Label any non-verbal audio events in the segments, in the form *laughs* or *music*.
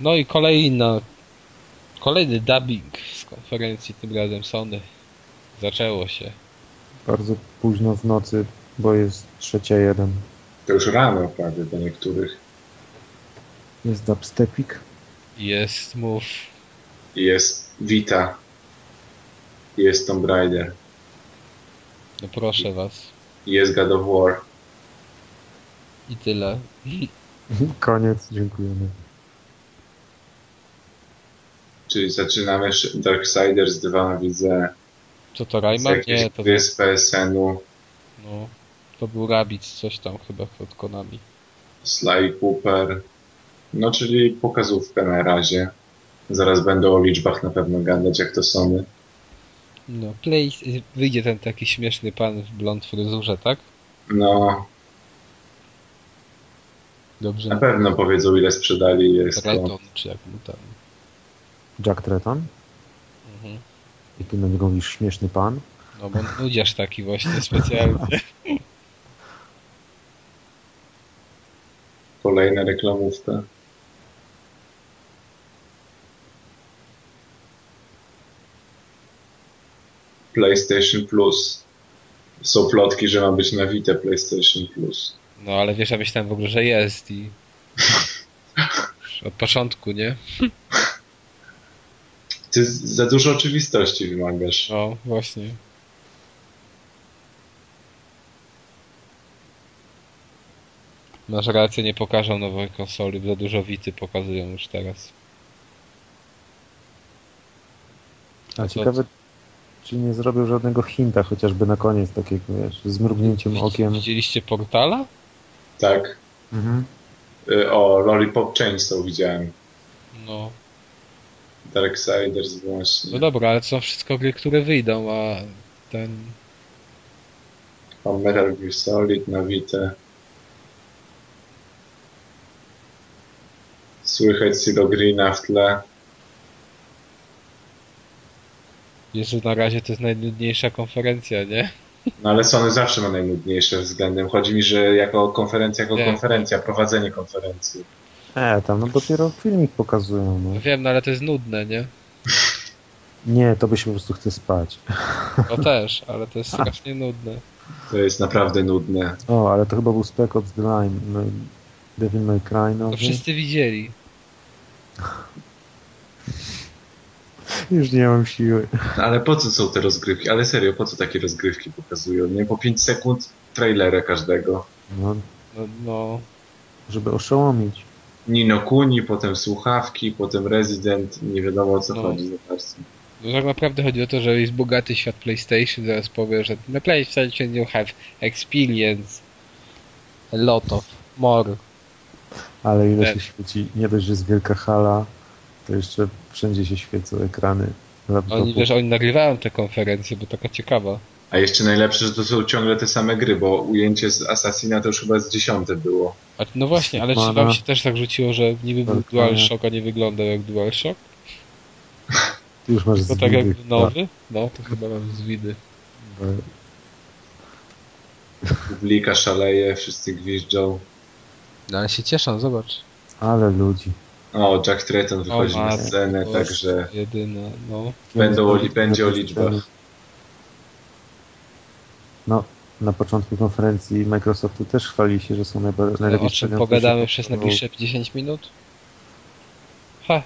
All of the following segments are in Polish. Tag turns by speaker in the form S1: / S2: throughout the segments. S1: No i kolejna, kolejny dubbing z konferencji, tym razem Sony. Zaczęło się.
S2: Bardzo późno w nocy, bo jest trzecia jeden.
S3: To już rano prawie do niektórych.
S2: Jest dubstepik.
S1: Jest mów.
S3: Jest Vita. Jest Tomb Raider.
S1: No proszę was.
S3: Jest God of War.
S1: I tyle.
S2: Koniec, dziękujemy.
S3: Czyli zaczynamy sz- Darksiders 2, widzę.
S1: Co to
S3: Z
S1: Rayman?
S3: jakiejś
S1: No Nie, to
S3: gry z PSN-u.
S1: no, to był Rabbids, coś tam chyba pod Konami.
S3: Sly Cooper. No, czyli pokazówkę na razie. Zaraz będą o liczbach na pewno gadać, jak to Sony.
S1: No, play, wyjdzie ten taki śmieszny pan w blond fryzurze, tak?
S3: No,
S1: Dobrze.
S3: na pewno powiedzą, ile sprzedali. Jest to.
S1: Raton, czy jak mu tam.
S2: Jack Treton.
S1: Mhm.
S2: I ty na niego mówisz śmieszny pan.
S1: No bo nudziarz taki właśnie *laughs* specjalny.
S3: Kolejna reklamówka. PlayStation Plus. Są plotki, że ma być na Vita PlayStation Plus.
S1: No ale wiesz, ja myślałem w ogóle, że jest
S3: *laughs*
S1: i... Już Od początku, nie?
S3: Ty z- za dużo oczywistości wymagasz.
S1: No, właśnie. Masz rację, nie pokażą nowej konsoli, za dużo Wity pokazują już teraz.
S2: A
S1: to-
S2: ciekawe, czy nie zrobił żadnego hinta chociażby na koniec takiego, wiesz, z mrugnięciem okiem.
S1: Widzieliście Portala?
S3: Tak.
S2: Mhm.
S3: Y, O, Lollipop Chainsaw widziałem.
S1: No.
S3: Darksiders
S1: No
S3: właśnie.
S1: dobra, ale co wszystko gry, które wyjdą, a ten...
S3: Mam Metal Gear Solid na Vita. Słychać Silo Greena w tle.
S1: Jezu, na razie to jest najnudniejsza konferencja, nie?
S3: No ale Sony zawsze ma najnudniejsze względem. Chodzi mi, że jako konferencja, jako
S1: Nie.
S3: konferencja, prowadzenie konferencji.
S2: E, tam no dopiero filmik pokazują. No.
S1: No wiem, no ale to jest nudne, nie?
S2: Nie, to by się po prostu chce spać.
S1: To No też, ale to jest strasznie nudne.
S3: To jest naprawdę nudne.
S2: O, ale to chyba był Spec Ops The Line. No, i Devil May Cry no,
S1: To
S2: nowy.
S1: wszyscy widzieli.
S2: Już nie mam siły.
S3: Ale po co są te rozgrywki? Ale serio, po co takie rozgrywki pokazują? Nie po 5 sekund trailera każdego.
S2: No,
S1: No, no
S2: żeby oszołomić.
S3: Nino Kuni, potem słuchawki, potem Resident, nie wiadomo o co
S1: No.
S3: chodzi za bardzo.
S1: no tak naprawdę chodzi o to, że jest bogaty świat PlayStation, zaraz powie, że na PlayStation you have experience, a lot of more.
S2: Ale ile
S1: Tak.
S2: się świeci. Nie dość, że jest wielka hala, to jeszcze wszędzie się świecą ekrany
S1: Oni,
S2: laptopu.
S1: wiesz, oni nagrywają te konferencje, bo taka ciekawa.
S3: A jeszcze najlepsze, że to są ciągle te same gry, bo ujęcie z Assassina to już chyba z dziesiąte było.
S1: A, no właśnie, ale czy
S2: Mana.
S1: wam się też tak rzuciło, że niby był
S2: Dokładnie.
S1: DualShock, a nie wyglądał jak DualShock?
S2: Ty już masz
S1: To tak
S2: zbitych,
S1: jak nowy? No, to chyba mam z widy.
S2: tak, bo-
S3: Publika szaleje, wszyscy gwiżdżą.
S1: No ale się cieszą, zobacz.
S2: Ale ludzi.
S3: O, Jack Tretton wychodzi na
S1: matko,
S3: scenę,
S1: to
S3: także
S1: Jedyna, no.
S3: Będą o li- będzie o liczbach.
S2: No, na początku konferencji Microsoftu też chwali się, że są najba- najlepiej
S1: O czym
S2: sprzedające
S1: No, pogadamy
S2: się-
S1: przez najbliższe 10 minut? Ha.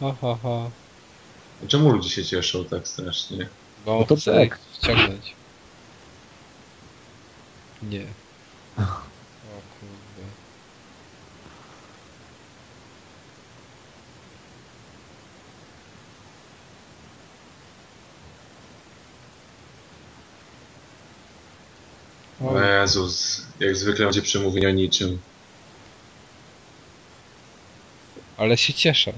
S1: Ha, ha, ha.
S3: czemu ludzie się cieszą tak strasznie?
S1: Bo
S2: No to
S1: chcę
S2: tak.
S1: wciągnąć. Nie. O kurde.
S3: O
S1: No.
S3: Jezus, jak zwykle będzie przemówienie o niczym.
S1: Ale się cieszę.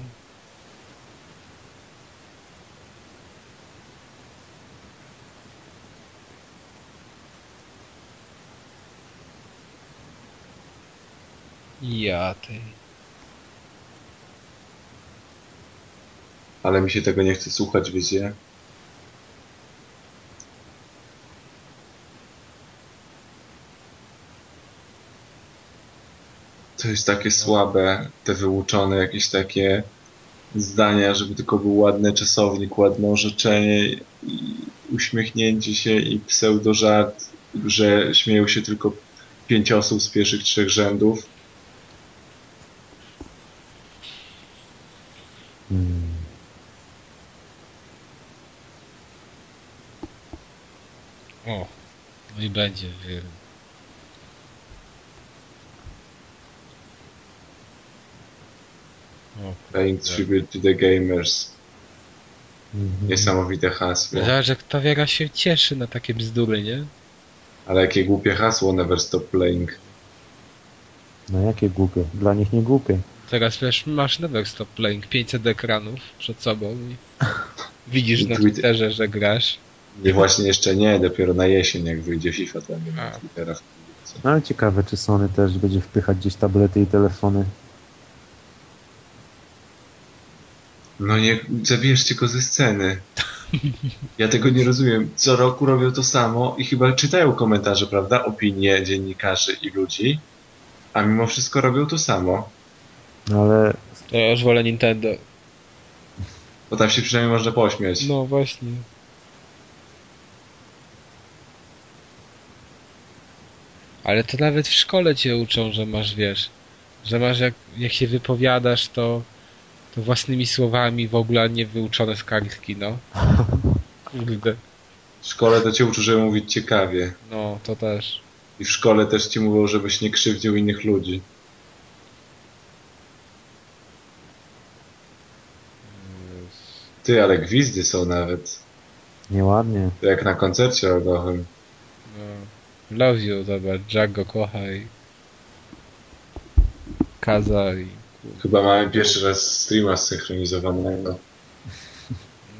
S1: Ja ty.
S3: Ale mi się tego nie chce słuchać, wiecie? To jest takie słabe, te wyuczone jakieś takie zdania, żeby tylko był ładny czasownik, ładne orzeczenie i uśmiechnięcie się i pseudożart, że śmieją się tylko pięć osób z pierwszych trzech rzędów.
S2: Hmm.
S1: O, no i będzie. wiem. O,
S3: Paying
S1: kurde.
S3: tribute to the gamers.
S2: Mhm.
S3: Niesamowite hasło.
S1: Zobacz, jak ta wiara się cieszy na takie bzdury, nie?
S3: Ale jakie głupie hasło Never Stop Playing.
S2: No jakie głupie. Dla nich nie głupie.
S1: Teraz wiesz, masz Never Stop Playing, 500 ekranów przed sobą i widzisz na
S3: Twitter-
S1: Twitterze, że grasz.
S3: I właśnie jeszcze nie, dopiero na jesień, jak wyjdzie FIFA, to będzie
S1: Mhm. A.
S3: na Twittera.
S2: No ale ciekawe, czy Sony też będzie wpychać gdzieś tablety i telefony.
S3: No nie, zabierzcie go ze
S1: *laughs*
S3: sceny. Ja tego nie rozumiem. Co roku robią to samo i chyba czytają komentarze, prawda? Opinie dziennikarzy i ludzi, a mimo wszystko robią to samo.
S2: No ale
S1: To ja już wolę Nintendo.
S3: Bo tam się przynajmniej można pośmiać.
S1: No właśnie. Ale to nawet w szkole cię uczą, że masz, wiesz, że masz, jak, jak się wypowiadasz, to, to własnymi słowami w ogóle nie wyuczone z kartki, no. Kurde.
S3: W szkole to cię uczy, żeby mówić ciekawie.
S1: No, to też.
S3: I w szkole też ci mówią, żebyś nie krzywdził innych ludzi. Ty, ale gwizdy są nawet.
S2: nieładnie.
S3: To jak na koncercie rodowym.
S1: No. Love you, zobacz, Jack go kocha i... Kaza i...
S3: Chyba mamy pierwszy raz streama zsynchronizowanego.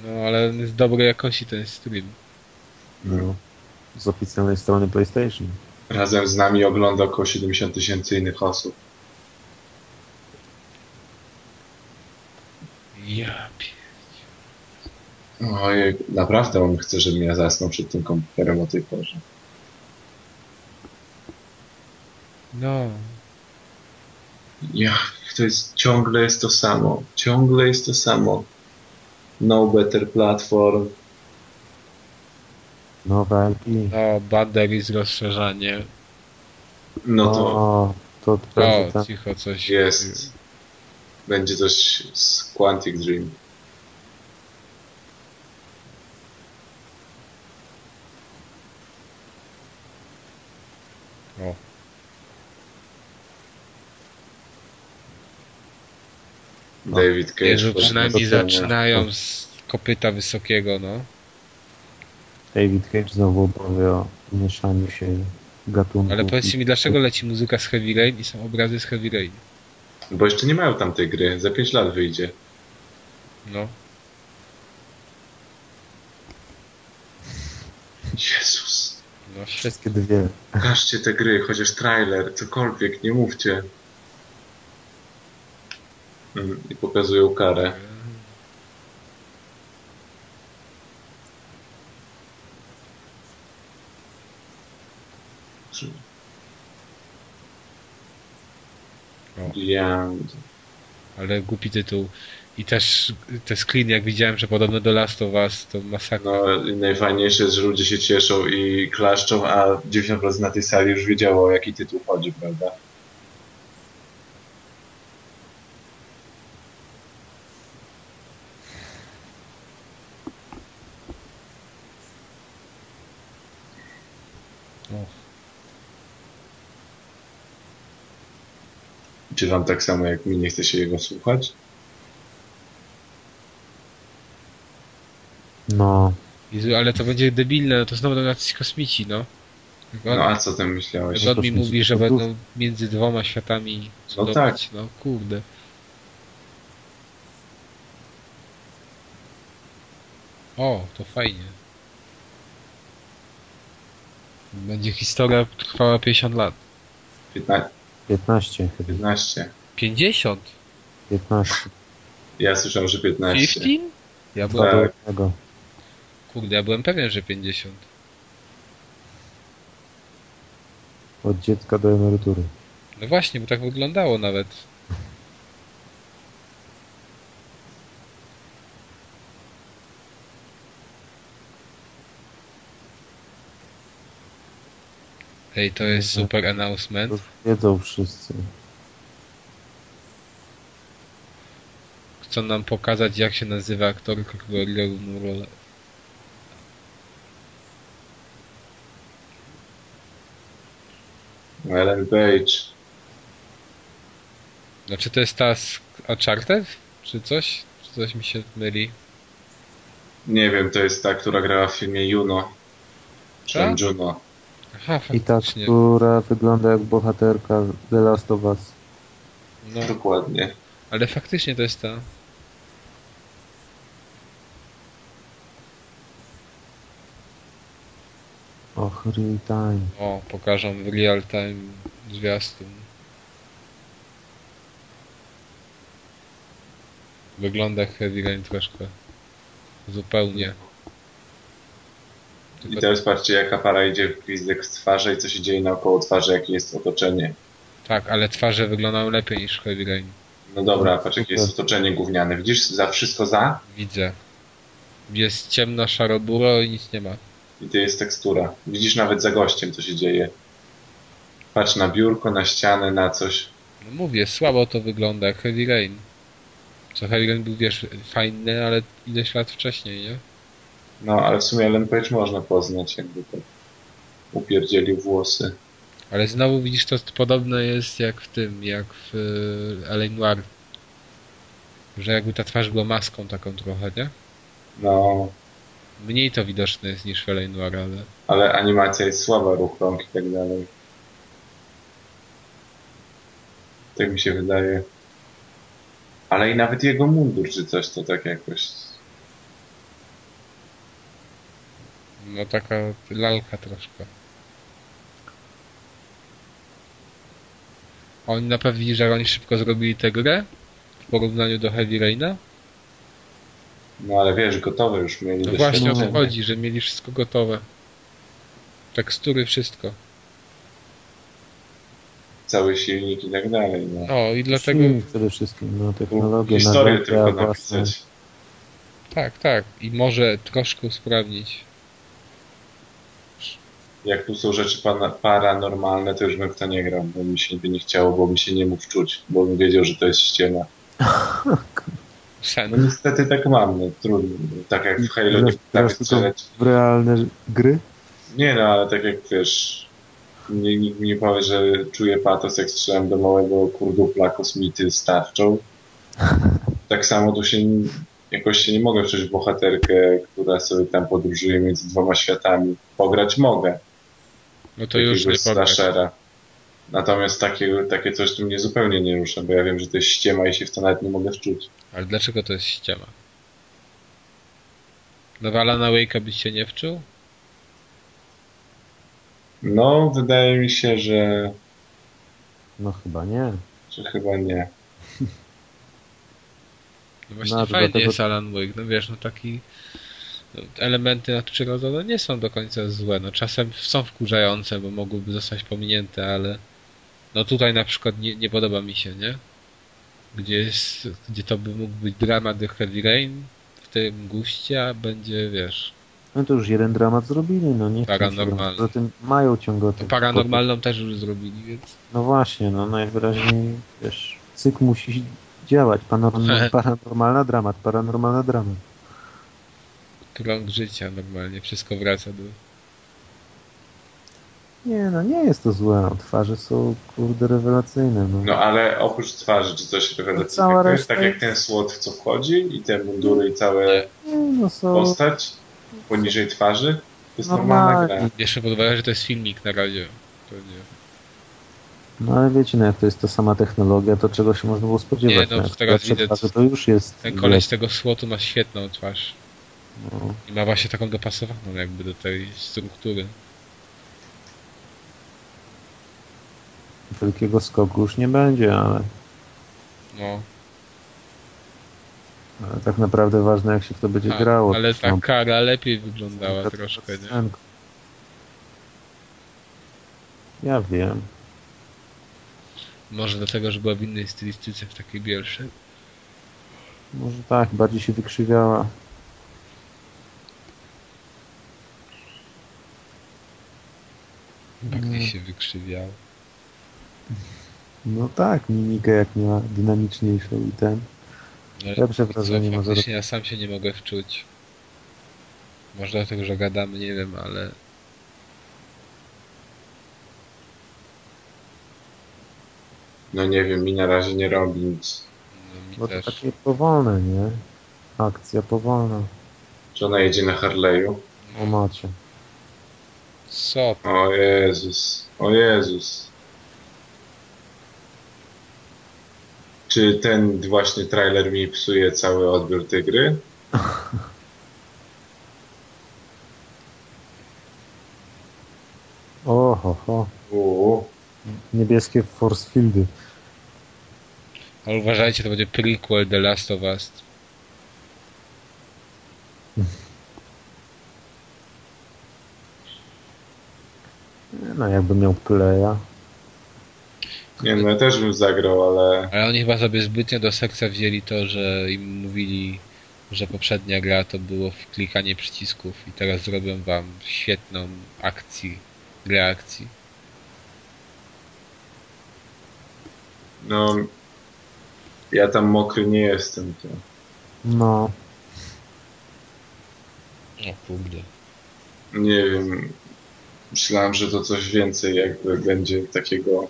S1: No, ale on jest dobrej jakości ten stream.
S2: No. Z oficjalnej strony PlayStation.
S3: Razem z nami ogląda około 70 tysięcy innych osób.
S1: Ja pie...
S3: Ojej, naprawdę on chce, żebym ja zasnął przed tym komputerem o tej porze.
S1: No,
S3: Ja, to jest, ciągle jest to samo. Ciągle jest to samo. No Better Platform.
S2: Nowe LP.
S1: no, bander i z rozszerzanie.
S3: No to No,
S2: O, to będzie
S1: O,
S2: tak.
S1: No, cicho coś.
S3: jest. Będzie coś z Quantic Dream.
S1: O.
S3: David Cage.
S1: Jezu,
S3: po raz
S1: przynajmniej
S3: kolejny.
S1: zaczynają z kopyta wysokiego, no.
S2: David Cage znowu opowie o mieszaniu się gatunków.
S1: Ale powiedzcie mi, dlaczego leci muzyka z Heavy Rain i są obrazy z Heavy Rain?
S3: Bo jeszcze nie mają tamtej gry. Za 5 lat wyjdzie.
S1: No.
S3: Jezus.
S1: No,
S2: Wszystkie dwie.
S3: Pokażcie te gry, chociaż trailer, cokolwiek, nie mówcie. Mm, I pokazują karę. Czy-
S1: O.
S3: Ja,
S1: Ale głupi tytuł. I też te screeny, jak widziałem, że podobne do Last of Us, to masakra.
S3: no, i najfajniejsze jest, że ludzie się cieszą i klaszczą, a 90% na tej sali już wiedziało, o jaki tytuł chodzi, prawda?
S1: No.
S3: Czy wam tak samo jak mi nie chce się jego słuchać?
S2: No.
S1: Jezu, ale to będzie debilne, no to znowu będą jacyś kosmici, no. Jak on,
S3: No a co ty myślałeś?
S1: jak on mi
S2: kosmici
S1: mówi, że
S2: cudów.
S1: będą między dwoma światami cudować,
S3: tak.
S1: no kurde. O, to fajnie. Będzie historia trwała 50 lat.
S3: 15,
S2: 15 chyba.
S3: 15.
S1: 50?
S2: 15
S3: Ja słyszałem, że 15.
S1: 15? Ja byłem,
S3: Tak.
S2: do jednego.
S1: kurde, ja byłem pewien, że 50.
S2: Od dziecka do emerytury.
S1: No właśnie, bo tak wyglądało nawet. Ej, to jest
S2: Mhm.
S1: super announcement.
S2: To wiedzą wszyscy.
S1: Chcą nam pokazać, jak się nazywa aktorka, która gra główną rolę.
S3: Ellen Page.
S1: Znaczy to jest ta z Uncharted? Czy coś? Czy coś mi się myli?
S3: Nie wiem, to jest ta, która grała w filmie Juno. Czy
S1: Tak?
S3: Juno.
S1: Aha,
S2: I tak, ta,
S1: faktycznie.
S2: która wygląda jak bohaterka The Last of Us.
S1: No,
S3: Dokładnie.
S1: ale faktycznie to jest ta.
S2: Och, real time.
S1: O, pokażą w real time zwiastun. Wygląda jak Heavy Rain troszkę. Zupełnie.
S3: I teraz patrzcie, jaka para idzie w gwizdek z twarzy i co się dzieje naokoło twarzy, jakie jest otoczenie.
S1: Tak, ale twarze wyglądają lepiej niż w Heavy Rain.
S3: No dobra, patrz, jakie jest otoczenie gówniane. Widzisz, za wszystko za
S1: Widzę. Jest ciemno, szaro buro i nic nie ma.
S3: i to jest tekstura. Widzisz nawet za gościem, co się dzieje. Patrz na biurko, na ścianę, na coś.
S1: No mówię, słabo to wygląda jak Heavy Rain. Co Heavy Rain był, wiesz, fajny, ale ileś lat wcześniej, nie?
S3: No, ale w sumie Ellen Page można poznać, jakby to upierdzielił włosy.
S1: Ale znowu widzisz, to podobne jest jak w tym, jak w y, L.A. Noir. Że jakby ta twarz była maską taką trochę, nie?
S3: No,
S1: Mniej to widoczne jest niż w L.A. Noir, ale...
S3: ale animacja jest słaba, ruch rąk i tak dalej. Tak mi się wydaje. Ale i nawet jego mundur czy coś to tak jakoś.
S1: No taka lalka troszkę. Oni na pewno że oni szybko zrobili tę grę w porównaniu do Heavy Raina.
S3: No ale wiesz, no, gotowe już mieli
S1: To No właśnie o to
S3: doświadczenie.
S1: chodzi, że mieli wszystko gotowe. Tekstury, wszystko.
S3: Cały silnik i tak dalej. No.
S1: No i dlatego,
S2: Silnik przede wszystkim, no technologia,
S3: Historię
S2: narzędzia
S3: tylko
S2: własne.
S3: napisać.
S1: tak, tak. I może troszkę usprawnić.
S3: Jak tu są rzeczy pana- paranormalne, to już bym w to nie grał, bo mi się by nie chciało, bo bym się nie mógł czuć, bo bym wiedział, że to jest ściema. No
S2: No,
S1: Sen.
S3: niestety tak mam, no trudno. Tak jak w Halo nie
S2: Teraz-
S3: potrafię
S2: Teraz tylko
S3: strzelać.
S2: w realne gry?
S3: Nie no, ale tak jak wiesz, nie, nikt mi nie powie, że czuję patos, jak strzelam do małego kurdupla kosmity z tarczą. Tak samo tu się nie- jakoś się nie mogę wczuć w bohaterkę, która sobie tam podróżuje między dwoma światami. Pograć mogę,
S1: No to już nie
S3: jakiegoś
S1: powiem.
S3: slashera. Natomiast takie, takie coś tu mnie zupełnie nie rusza, bo ja wiem, że to jest ściema i się w to nawet nie mogę wczuć.
S1: Ale dlaczego to jest ściema? No w Alana Wake'a byś się nie wczuł?
S3: No, wydaje mi się, że,
S2: No chyba nie.
S3: że chyba nie.
S1: No właśnie
S2: No, to
S1: fajny
S2: dlatego-
S1: jest Alan Wake, no wiesz, no taki... no, Elementy nadprzyrodzone nie są do końca złe, no czasem są wkurzające, bo mogłyby zostać pominięte, ale... No tutaj na przykład nie, nie podoba mi się, nie? Gdzie jest, gdzie to by mógł być dramat The Heavy Rain, w tym guście, a będzie, wiesz...
S2: No to już jeden dramat zrobili, no nie. chcą się
S1: Paranormalny.
S2: robić. Poza tym mają ciągotę.
S1: To paranormalną też już zrobili, więc...
S2: No właśnie, no najwyraźniej wiesz, cykl musi działać.
S1: *laughs*
S2: Panorm- paranormalna dramat, paranormalna dramat.
S1: krąg życia normalnie, wszystko wraca do...
S2: Nie no, nie jest to złe, no. twarze są kurde rewelacyjne, no.
S3: No ale oprócz twarzy czy coś rewelacyjnego,
S2: Cała
S3: to jest
S2: reszta
S3: tak jak
S2: jest-
S3: ten słod, w co wchodzi i te mundury i całe
S2: Nie, no są
S3: postać poniżej twarzy, to jest normalna gra.
S2: normalni.
S1: Jeszcze pod uwagę, że to jest filmik na razie. To nie.
S2: No ale wiecie, no jak to jest ta sama technologia, to czego się można było spodziewać.
S1: Nie, no,
S2: jak
S1: teraz
S2: te
S1: widzę,
S2: twarze
S1: co-
S2: to już jest.
S1: Ten koleś tego słotu ma świetną twarz.
S2: No,
S1: I ma właśnie taką dopasowaną jakby do tej struktury.
S2: wielkiego skoku już nie będzie, ale,
S1: No.
S2: ale tak naprawdę ważne jak się w to będzie
S1: A,
S2: grało.
S1: tak, ale
S2: No,
S1: ta kara lepiej wyglądała
S2: Ta- ta
S1: troszkę, nie?
S2: scenka. Ja wiem.
S1: Może dlatego, że była w innej stylistyce, w takiej bielszej.
S2: Może tak, bardziej się wykrzywiała.
S1: Bardziej
S2: Mm.
S1: Tak się wykrzywiał.
S2: No tak, mimikę jak miała dynamiczniejszą i ten.
S1: Ale
S2: Lepsze
S1: póki No, co
S2: wrażenie ma
S1: faktycznie Ja sam się nie mogę wczuć. Może dlatego, że gadamy, nie wiem, ale...
S3: No nie wiem, mi na razie nie robi nic.
S1: No, mi
S2: Bo to
S1: też.
S2: takie powolne, nie? Akcja powolna.
S3: Czy ona jedzie na Harley'u?
S2: O macie.
S1: Co?
S3: O Jezus, o Jezus. Czy ten właśnie trailer mi psuje cały odbiór tej gry?
S2: O, ho, ho.
S3: Uuu.
S2: Niebieskie force fieldy.
S1: Ale uważajcie, to będzie prequel The Last of Us.
S2: No jakby miał playa.
S3: Nie no, ja też bym zagrał, ale
S1: Ale oni chyba sobie zbytnio do serca wzięli to, że im mówili, że poprzednia gra to było w klikanie przycisków i teraz zrobią wam świetną akcji, grę akcji.
S3: no... Ja tam mokry nie jestem. To.
S2: No,
S1: O kurde.
S3: Nie wiem. Myślałem, że to coś więcej jakby będzie takiego...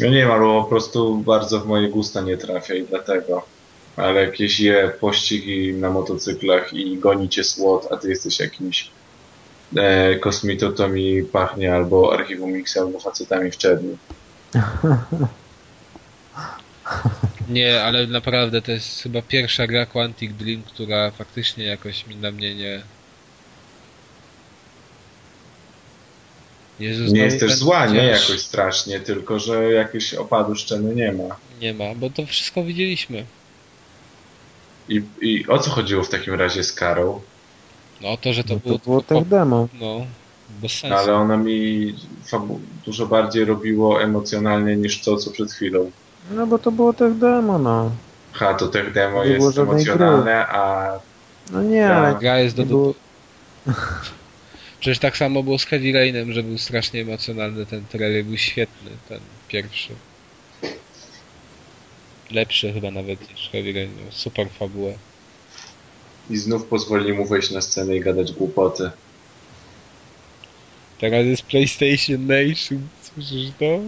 S3: No nie wiem, albo po prostu bardzo w moje gusta nie trafia i dlatego. Ale jakieś je pościgi na motocyklach i goni cię słod, a ty jesteś jakimś e, kosmitą, to mi pachnie albo archiwum X, albo facetami w czerni.
S1: Nie, ale naprawdę to jest chyba pierwsza gra Quantic Dream, która faktycznie jakoś mi na mnie nie... Jezus,
S3: Nie
S1: no
S3: jest
S1: ten-
S3: też zła, nie?
S1: też
S3: Jakoś strasznie, tylko że jakiejś opadu szczeny nie ma.
S1: Nie ma, bo to wszystko widzieliśmy.
S3: I, I o co chodziło w takim razie z karą?
S1: No to, że to
S2: to, no,
S1: było...
S2: to było
S1: tylko
S2: tech demo.
S1: No, bez sensu.
S3: No, tak ale ona mi fabu- dużo bardziej robiło emocjonalnie niż to, co przed chwilą.
S2: No bo to było tech demo, no.
S3: Ha, to tech demo
S2: Nie było
S3: jest
S2: żadnej
S3: emocjonalne, a
S2: No nie,
S3: Tak.
S2: ale
S1: Gra jest do
S2: nie
S1: dupy.
S2: było...
S1: Przecież tak samo było z Heavy Rainem, że był strasznie emocjonalny ten trailer, był świetny, ten pierwszy. Lepszy chyba nawet niż Heavy Rain, miał super fabułę.
S3: i znów pozwoli mu wejść na scenę i gadać głupoty.
S1: Teraz jest PlayStation Nation, słyszysz to?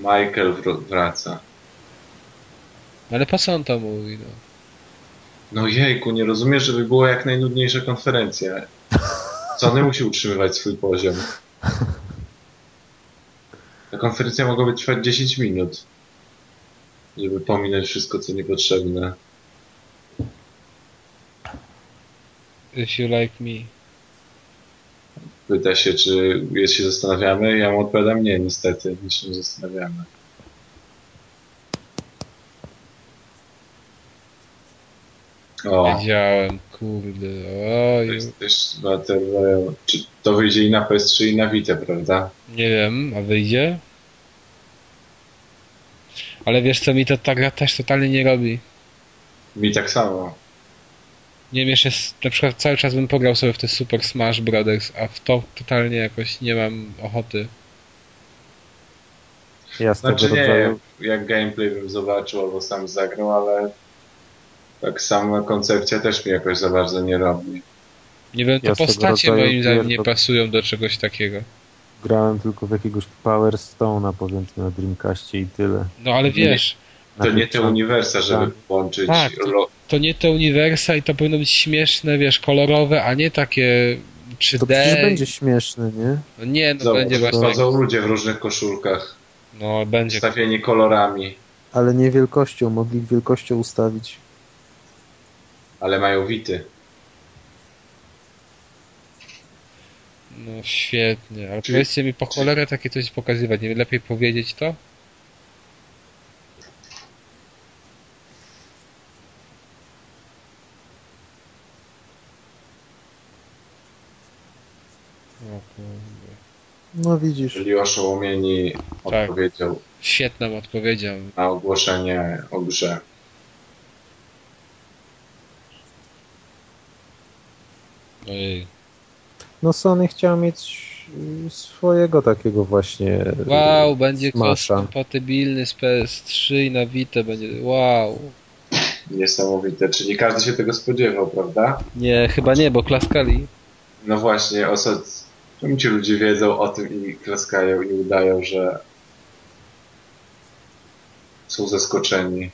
S3: Michael wr- wraca.
S1: No Ale po co on to mówi, no?
S3: No jejku, nie rozumiesz, żeby była jak najnudniejsza konferencja. Sony musi utrzymywać swój poziom. Ta konferencja mogłaby trwać 10 minut, żeby pominąć wszystko, co niepotrzebne.
S1: If you like me.
S3: Pyta się, czy jest się zastanawiamy. Ja mu odpowiadam, nie, niestety, nic się nie zastanawiamy. O,
S1: Wiedziałem, kurde,
S3: to
S1: oj.
S3: jest też Battle Royale. Czy to wyjdzie i na PS3, i na Vita, prawda?
S1: Nie wiem, a wyjdzie? Ale wiesz co, mi to ta gra też totalnie nie robi.
S3: Mi tak samo.
S1: Nie wiem, jeszcze s- na przykład cały czas bym pograł sobie w te Super Smash Brothers, a w to totalnie jakoś nie mam ochoty.
S2: Ja z tego
S3: Znaczy nie,
S2: rodzaju...
S3: jak gameplay bym zobaczył albo sam zagrał, ale tak sama koncepcja też mi jakoś za bardzo nie robi.
S1: Nie wiem, te
S2: Ja z tego
S1: postacie
S2: rodzaju
S1: moim zdaniem nie
S2: pierdol-
S1: pasują do czegoś takiego.
S2: Grałem tylko w jakiegoś Power Stone'a, powiedzmy, na Dreamcastie i tyle.
S1: No ale wiesz,
S2: Na
S3: To nie te
S2: Dreamcastie.
S3: uniwersa, żeby
S2: Tak.
S3: połączyć
S1: Tak.
S3: ro-
S1: to nie te uniwersa i to powinno być śmieszne, wiesz, kolorowe, a nie takie
S2: To
S1: 3D.
S2: przecież będzie śmieszny, nie?
S1: No nie, no
S3: Zobacz,
S1: będzie właśnie.
S3: chodzą ludzie w różnych koszulkach,
S1: No będzie.
S3: stawieni kolorami,
S2: Ale nie wielkością, mogli wielkością ustawić.
S3: ale mają wity.
S1: No świetnie, ale
S3: Czyli-
S1: powiedzcie mi po cholerę takie coś pokazywać, nie wiem, lepiej powiedzieć to? O kurde.
S2: No widzisz.
S3: Czyli oszołomieni odpowiedział
S1: Świetną odpowiedzią.
S3: na ogłoszenie o grze.
S1: Ojej.
S2: No Sony chciał mieć y, swojego takiego właśnie. y,
S1: Wow, będzie cross
S2: Smasha.
S1: kompatybilny z PS3 i na Vita będzie. Wow.
S3: Niesamowite. Czyli każdy się tego spodziewał, prawda?
S1: Nie, chyba nie, bo klaskali.
S3: No właśnie, osad. Czemu ci ludzie wiedzą o tym i klaskają i udają, że są zaskoczeni?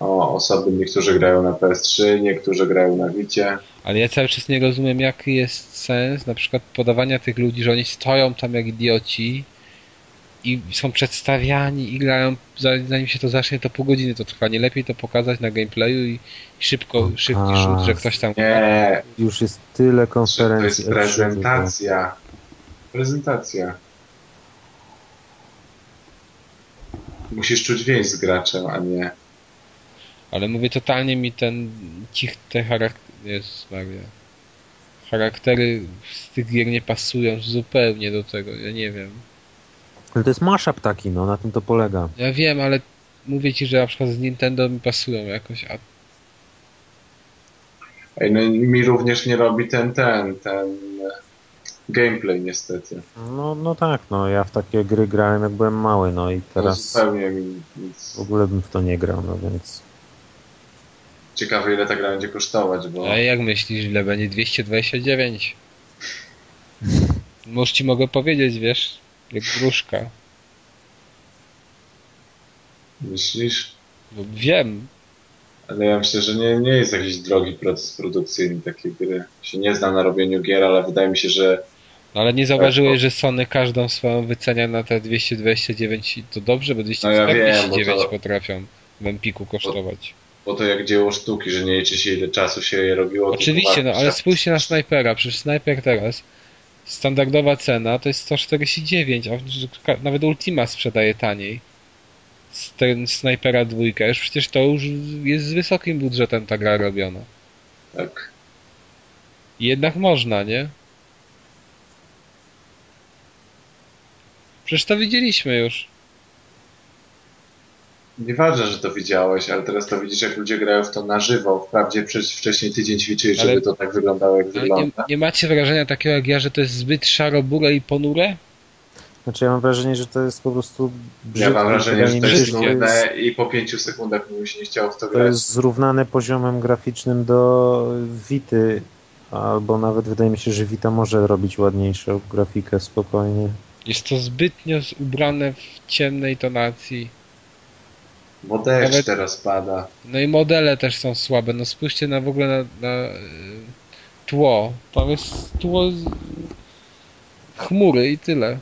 S3: O, osoby, niektórzy grają na PS3, niektórzy grają na Wicie.
S1: Ale ja cały czas nie rozumiem, jaki jest sens na przykład podawania tych ludzi, że oni stoją tam jak idioci i są przedstawiani i grają, za- zanim się to zacznie, to pół godziny to trwa. Nie lepiej to pokazać na gameplayu i i szybko, szybki
S2: A,
S1: rzut, że ktoś tam...
S3: Nie,
S2: Już jest tyle
S3: to
S2: konferencji. E
S3: jest
S2: E3,
S3: prezentacja. Prezentacja. Musisz czuć więź z graczem, a nie...
S1: Ale mówię, totalnie mi ten cich, te charaktery, jest Maria. Charaktery z tych gier nie pasują zupełnie do tego, ja nie wiem.
S2: Ale to jest mashup taki, no na tym to polega.
S1: Ja wiem, ale mówię ci, że na przykład z Nintendo mi pasują jakoś, a
S3: Ej, no i mi również nie robi ten, ten, ten e, gameplay niestety.
S2: No, no tak, no ja w takie gry grałem jak byłem mały, no i
S3: Teraz...
S2: teraz
S3: Zupełnie mi nic.
S2: w ogóle bym w to nie grał, no więc
S3: Ciekawe ile ta gra będzie kosztować, bo
S1: A No jak myślisz, ile będzie 229? Może ci mogę powiedzieć, wiesz, jak gruszka.
S3: myślisz?
S1: Bo No, wiem,
S3: Ale ja myślę, że nie, nie jest jakiś drogi proces produkcyjny takiej gry. Się nie znam na robieniu gier, ale wydaje mi się, że
S1: no ale nie zauważyłeś, że Sony każdą swoją wycenia na te 229 i to dobrze, bo 249
S3: No wiem, bo to-
S1: potrafią w Empiku kosztować.
S3: bo to jak dzieło sztuki, że nie liczy się ile czasu się je robiło. tylko
S1: Oczywiście, no
S3: wartość.
S1: ale spójrzcie na snajpera, przecież snajper teraz standardowa cena to jest 149, a ka- nawet Ultima sprzedaje taniej. S- Ten snajpera dwójka, już przecież to już jest z wysokim budżetem ta gra robiona.
S3: Tak.
S1: Jednak można, nie? Przecież to widzieliśmy już.
S3: Nieważne, że to widziałeś, ale teraz to widzisz, jak ludzie grają w to na żywo. Wprawdzie przez wcześniej tydzień ćwiczyli,
S1: Ale-
S3: żeby to tak wyglądało, jak
S1: Ale nie,
S3: wygląda.
S1: nie macie wrażenia takiego jak ja, że to jest zbyt szarobure i ponure?
S2: Znaczy ja mam wrażenie, że to jest po prostu brzydkie.
S3: Ja mam wrażenie, że to jest
S1: brzydkie.
S3: nudne i po pięciu sekundach mi się nie chciało w to
S2: to
S3: grać.
S2: jest zrównane poziomem graficznym do Wity, albo nawet wydaje mi się, że Wita może robić ładniejszą grafikę spokojnie.
S1: Jest to zbytnio z- ubrane w ciemnej tonacji.
S3: Bo deszcz
S1: nawet-
S3: teraz pada.
S1: No i modele też są słabe. No spójrzcie na w ogóle na, na y, tło. Tam jest tło z... chmury i tyle.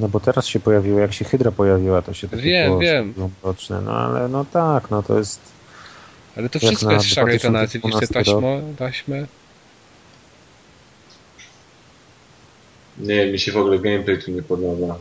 S2: No bo teraz się pojawiło, jak się Hydra pojawiła, to się takie
S1: Wiem,
S2: było
S1: wiem.
S2: mroczne, no ale no tak, no to jest
S1: Ale to
S2: Jak
S1: wszystko
S2: na
S1: jest w szarej tonacji. Widzicie
S2: 2012 rok.
S1: taśmo, taśmę.
S3: Nie, mi się w ogóle gameplay tu nie podoba.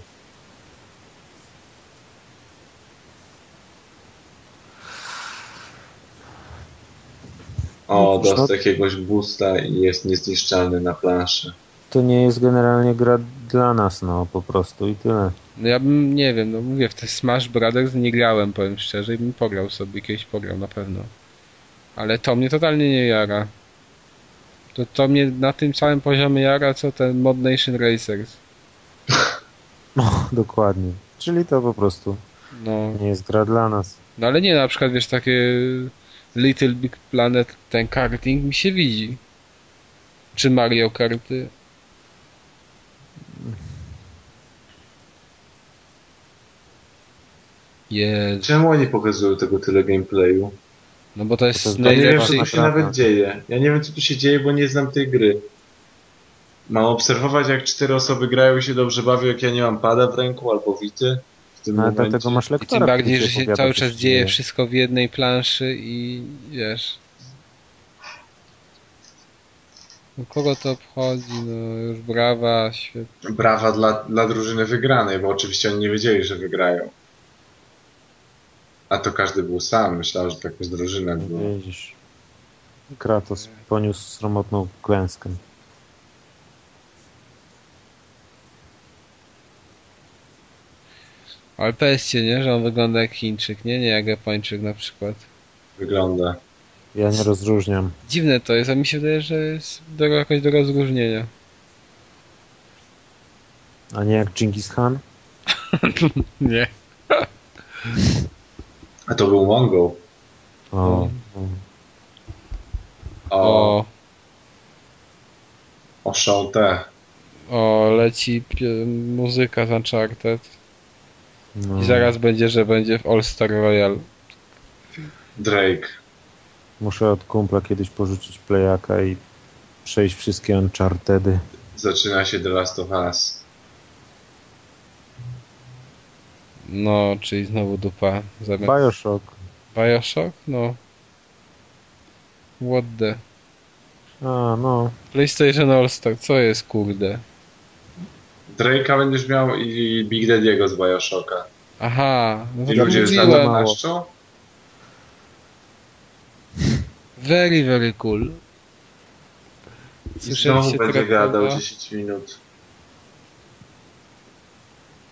S3: O,
S2: No cóż,
S3: dostał
S2: no-
S3: jakiegoś boosta i jest niezniszczalny na planszy.
S2: to nie jest generalnie gra dla nas, no po prostu i tyle. *laughs*
S1: No ja bym, nie wiem, no mówię, w te Smash Brothers nie grałem, powiem szczerze, i bym pograł sobie, kiedyś pograł na pewno. Ale to mnie totalnie nie jara. To, to mnie na tym samym poziomie jara, co ten Mod Nation Racers.
S2: No, dokładnie. Czyli to po prostu
S1: No,
S2: nie jest gra dla nas.
S1: no ale nie, na przykład, wiesz, takie Little Big Planet, ten karting mi się widzi. Czy Mario Karty. Jezu.
S3: Czemu oni pokazują tego tyle gameplayu?
S1: No bo to jest
S2: To jest
S3: Ja nie wiem,
S1: najlepszy
S3: co tu się
S2: Naprawdę.
S3: nawet dzieje. Ja nie wiem, co tu się dzieje, bo nie znam tej gry. Mam obserwować, jak cztery osoby grają i się dobrze bawią, jak ja nie mam pada w ręku albo wity. W tym
S2: No ale
S3: momencie.
S2: dlatego masz
S1: I
S2: lektora.
S1: tym bardziej,
S2: który
S1: że
S2: ci
S1: się
S2: opowiada,
S1: cały
S2: co
S1: czas
S2: się
S1: dzieje wszystko w jednej planszy i wiesz. No kogo to obchodzi? No już brawa, świetnie.
S3: Brawa dla, dla drużyny wygranej, bo oczywiście oni nie wiedzieli, że wygrają. A to każdy był sam, myślałem, że tak
S2: Mhm.
S3: jest drużyna. Bo...
S2: Widzisz. Kratos poniósł sromotną klęskę.
S1: Ale powiedzcie, nie? Że on wygląda jak Chińczyk, nie? Nie jak Japończyk na przykład.
S3: Wygląda.
S2: Ja nie rozróżniam.
S1: Dziwne to jest, a mi się wydaje, że jest do, jakoś do rozróżnienia.
S2: A nie jak Genghis Khan?
S1: Nie.
S3: A to był Mongol.
S2: O. no,
S3: O,
S1: O,
S3: o Shante.
S1: o leci pie- muzyka z Uncharted.
S2: No.
S1: I
S3: Mm.
S1: zaraz będzie, że będzie w All Star Royale.
S3: Drake.
S2: Muszę od kumpla kiedyś porzucić playaka i przejść wszystkie Unchartedy.
S3: Zaczyna się The Last of Us.
S1: No, czyli znowu dupa. Zamiast
S2: Bioshock.
S1: Bioshock? No. What the...
S2: A, no.
S1: PlayStation All Star, co jest kurde?
S3: Drake'a będziesz miał i Big Daddy'ego z Bioshocka.
S1: Aha, no
S3: I
S1: to
S3: ludzie już na
S1: mówiłem.
S2: mało.
S3: naszczą?
S1: Very, very cool.
S3: I
S1: Słyszeliście
S3: znowu będzie
S1: tego
S3: gadał
S1: słowa?
S3: 10 minut.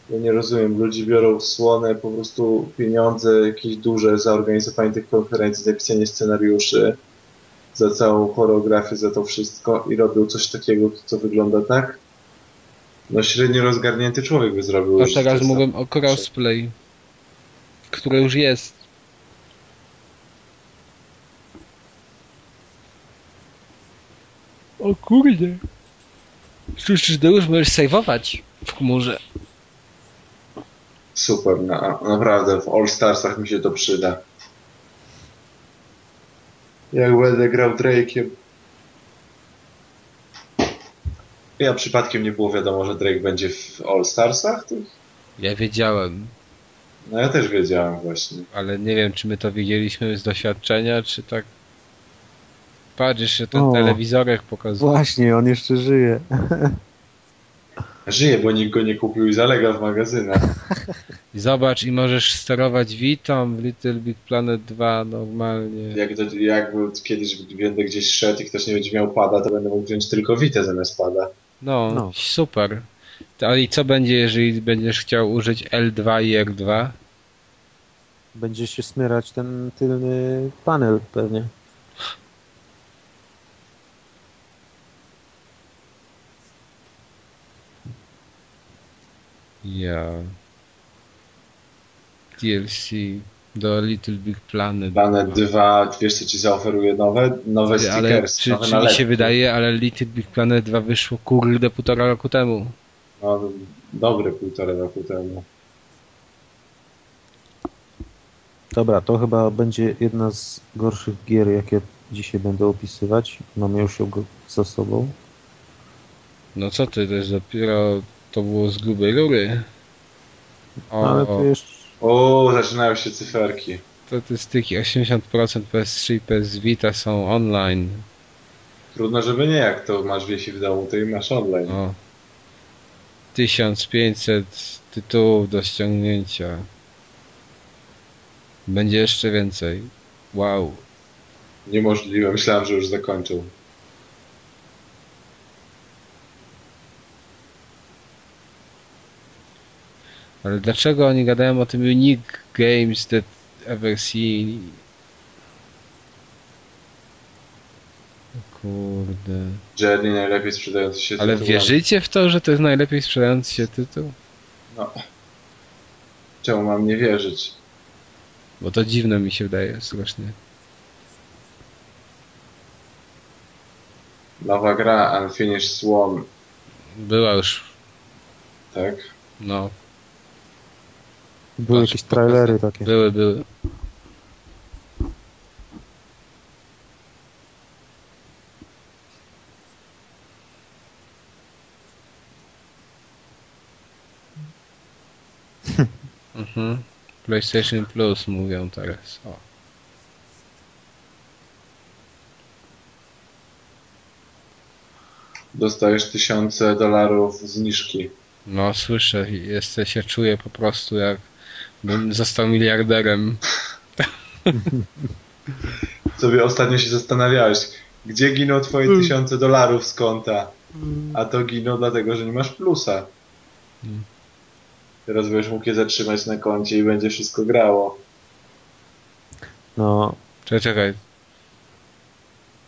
S3: Ja nie rozumiem. Ludzie biorą słone po prostu pieniądze jakieś duże za organizowanie tych konferencji, za pisanie scenariuszy, za całą choreografię, za to wszystko i robią coś takiego, co wygląda tak. No średnio rozgarnięty człowiek by zrobił.
S1: To
S3: już
S1: teraz
S3: coś
S1: mówię o crossplay, które już jest. O kurde. Słyszysz, ty już możesz sejwować w chmurze.
S3: Super, na, naprawdę w All Starsach mi się to przyda. Jak będę grał Drake'iem. Ja przypadkiem nie było wiadomo, że Drake będzie w All Starsach? tych?
S1: Ja wiedziałem,
S3: No ja też wiedziałem właśnie.
S1: ale nie wiem, czy my to widzieliśmy z doświadczenia, czy tak... Patrzysz, że ten
S2: O.
S1: telewizorek pokazuje.
S2: Właśnie, on jeszcze żyje.
S3: Żyje, bo nikt go nie kupił i zalega w magazynach.
S1: Zobacz i możesz sterować Witam w Little Big Planet 2 normalnie.
S3: Jak, do, jak kiedyś będę gdzieś szedł i ktoś nie będzie miał pada, to będę mógł wziąć tylko Witę zamiast pada.
S1: No,
S2: No.
S1: super. To, ale i co będzie, jeżeli będziesz chciał użyć L2 i R2?
S2: Będzie się smyrać ten tylny panel pewnie.
S1: Ja. DLC do Little Big Planet.
S3: Planet 2, wiesz co ci zaoferuje nowe? Nowe
S1: Ty, Ale
S3: stickers,
S1: czy,
S3: nowe
S1: czy mi się
S3: nalepki.
S1: wydaje, ale Little Big Planet 2 wyszło kurde półtora roku temu.
S3: No, dobre półtora roku temu.
S2: Dobra, to chyba będzie jedna z gorszych gier, jakie dzisiaj będę opisywać. Mamy już ją go- za sobą.
S1: No co ty, to jest dopiero... To było z grubej rury. O,
S2: Ale to jeszcze...
S3: O, zaczynają się cyferki.
S1: statystyki 80% PS3 i PS Vita są online.
S3: Trudno, żeby nie, jak to masz wiesi w domu, to i masz online.
S1: O. 1500 tytułów do ściągnięcia. Będzie jeszcze więcej. Wow.
S3: Niemożliwe, myślałem, że już zakończył.
S1: Ale dlaczego oni gadają o tym Unique Games that ever seen? O Kurde.
S3: Jerry najlepiej sprzedający się
S1: Ale
S3: tytułami.
S1: wierzycie w to, że to jest najlepiej sprzedający się tytuł?
S3: Czemu mam nie wierzyć?
S1: Bo to dziwne mi się wydaje strasznie.
S3: Nowa gra, Unfinished Swan,
S1: Była już,
S3: tak?
S1: no,
S2: Były
S1: Znaczy,
S2: jakieś trailery takie.
S1: były, były. Mhm. PlayStation Plus mówią teraz. O.
S3: Dostajesz tysiące dolarów zniżki.
S1: No słyszę, jestem, się czuję po prostu jakbym został miliarderem.
S3: Sobie ostatnio się zastanawiałeś, gdzie giną twoje tysiące dolarów z konta? A to giną dlatego, że nie masz plusa. Teraz będziesz mógł je zatrzymać na koncie i będzie wszystko grało.
S2: No,
S1: Czekaj, czekaj.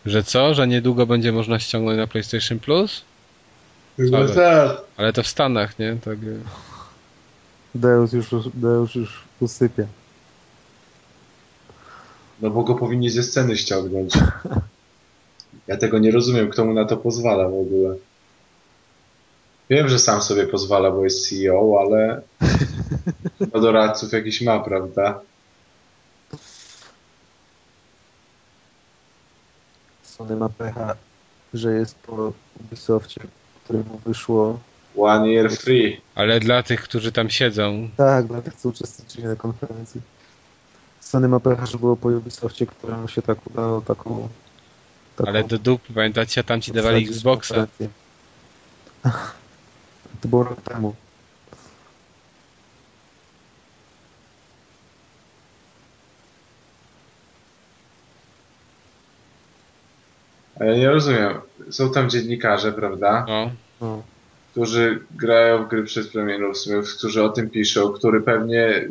S1: Że co? Że niedługo będzie można ściągnąć na PlayStation Plus?
S3: No
S1: Ale-
S3: tak.
S1: Ale to w Stanach, nie? Tak. y,
S2: Deus już, Deus już usypia.
S3: No bo go powinni ze sceny ściągnąć. Ja tego nie rozumiem, kto mu na to pozwala w ogóle. Wiem, że sam sobie pozwala, bo jest CEO, ale no doradców jakiś ma, prawda?
S2: Sony ma pecha, że jest po Ubisoftie, któremu wyszło.
S3: One year free.
S1: Ale dla tych, którzy tam siedzą,
S2: Tak, dla tych, co uczestniczyli na konferencji. Sony ma pecha, że było po Ubisoftie, któremu się tak udało taką. taką
S1: ale do dupy, pamiętacie, tam ci dawali
S2: wsadzić
S1: Xboxa.
S2: konferencję. *laughs* To było rok temu.
S3: A E, ja nie rozumiem. Są tam dziennikarze, prawda?
S1: No.
S2: No.
S3: którzy grają w gry przed premierą, w sumie, którzy o tym piszą, który pewnie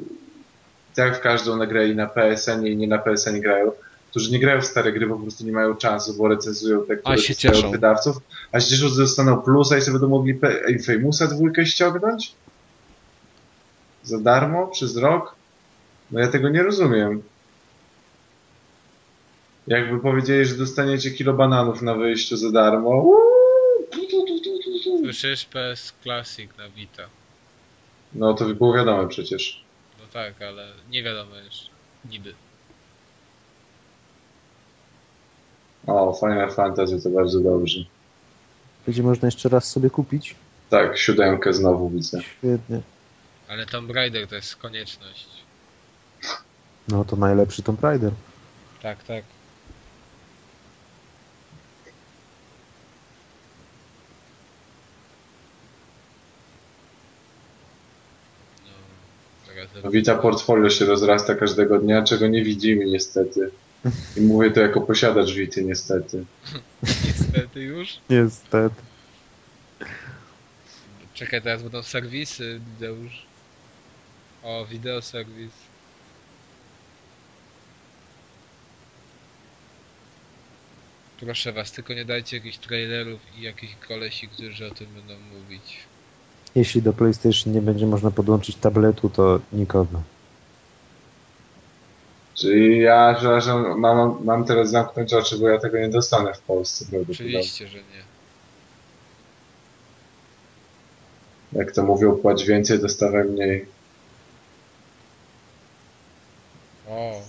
S3: tak w każdą nagrali na PSN i nie na PSN grają, którzy nie grają w stare gry, po prostu nie mają czasu, bo recenzują te, które
S1: się
S3: dostają
S1: cieszą.
S3: od wydawców, a się cieszą, że dostaną plusa i sobie będą mogli Pe- Infamousa dwójkę ściągnąć? Za darmo? Przez rok? No ja tego nie rozumiem. Jakby powiedzieli, że dostaniecie kilo bananów na wyjściu za darmo. uuu, tu, tu, tu, tu, tu, tu.
S1: Słyszysz PS Classic na Vita.
S3: No to było wiadome przecież.
S1: No tak, ale nie wiadomo jeszcze. Niby.
S3: O, Final Fantasy to bardzo dobrze.
S2: Będzie można jeszcze raz sobie kupić.
S3: Tak, siódemkę znowu widzę.
S2: Świetnie.
S1: Ale Tomb Raider to jest konieczność.
S2: No to najlepszy Tomb Raider.
S1: Tak, tak. No, teraz
S3: No, Wita portfolio się rozrasta każdego dnia, czego nie widzimy niestety. I mówię to jako posiadacz Wity niestety.
S1: niestety już.
S2: Niestety.
S1: Czekaj, teraz będą serwisy, Deusz. O, wideo serwis. Proszę was, tylko nie dajcie jakichś trailerów i jakichś kolesi, którzy o tym będą mówić.
S2: Jeśli do PlayStation nie będzie można podłączyć tabletu, to nikogo.
S3: Czyli ja, przepraszam, mam, mam teraz zamknąć oczy, bo ja tego nie dostanę w Polsce prawdopodobnie.
S1: Oczywiście, że nie.
S3: Jak to mówią, płać więcej, dostawaj mniej.
S1: O,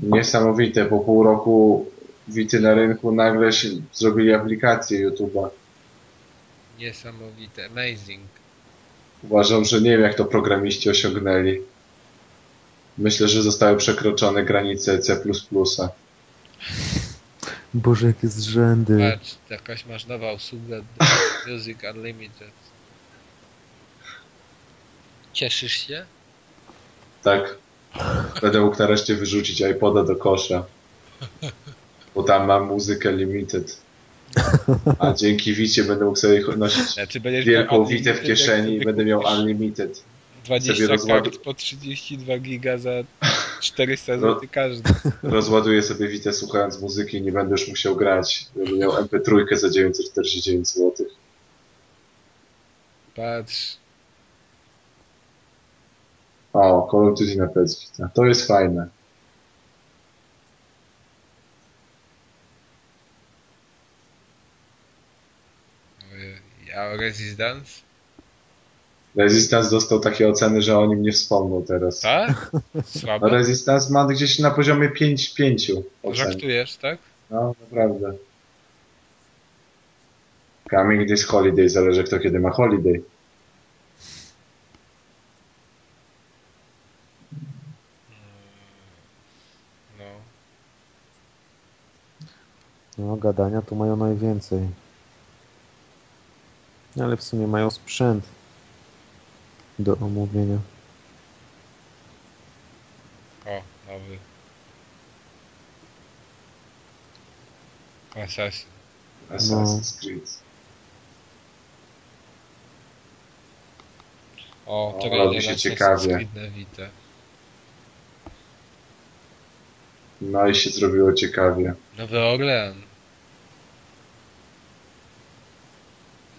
S3: Niesamowite, po pół roku Wity na rynku nagle się zrobili aplikację YouTube'a.
S1: niesamowite. Amazing.
S3: Uważam, że nie wiem, jak to programiści osiągnęli. Myślę, że zostały przekroczone granice C.
S2: Boże, jakie zrzędy.
S1: Patrz, jakaś masz nowa usługa *laughs* Music Unlimited. Cieszysz się?
S3: Tak. Będę mógł nareszcie wyrzucić iPoda do kosza. Bo tam mam muzykę limited. A dzięki Wicie będę mógł sobie nosić
S1: Znaczy będziesz
S3: wielką
S1: miał
S3: witę w
S1: unlimited, jak
S3: kieszeni i
S1: sobie
S3: będę miał
S1: kupisz
S3: unlimited.
S1: 20
S3: sobie rozładuj.
S1: kart po 32 giga
S3: *laughs*
S1: za 400
S3: No.
S1: zł każdy.
S3: Rozładuję sobie witę słuchając muzyki i nie będę już musiał grać. Będę miał MP3 za 949 zł.
S1: Patrz.
S3: O, Call of Duty na PS Vita. To jest fajne.
S1: y, A Resistance?
S3: Resistance dostał takie oceny, że o nim nie wspomnął teraz.
S1: Tak?
S3: No,
S1: Słabo.
S3: Resistance ma gdzieś na poziomie 5-5 ocen.
S1: Żartujesz, tak?
S3: No, naprawdę. Coming this holiday, zależy kto kiedy ma holiday.
S1: No.
S2: No, gadania tu mają najwięcej. No, Ale w sumie mają sprzęt do omówienia.
S1: O, nowy. Assassin.
S3: Assassin's Creed.
S1: O,
S3: O,
S1: czekaj,
S3: No, robi
S1: ja
S3: się
S1: raz
S3: ciekawie.
S1: rozkwitnę Witę.
S3: No i się zrobiło ciekawie.
S1: Nowy Orlean.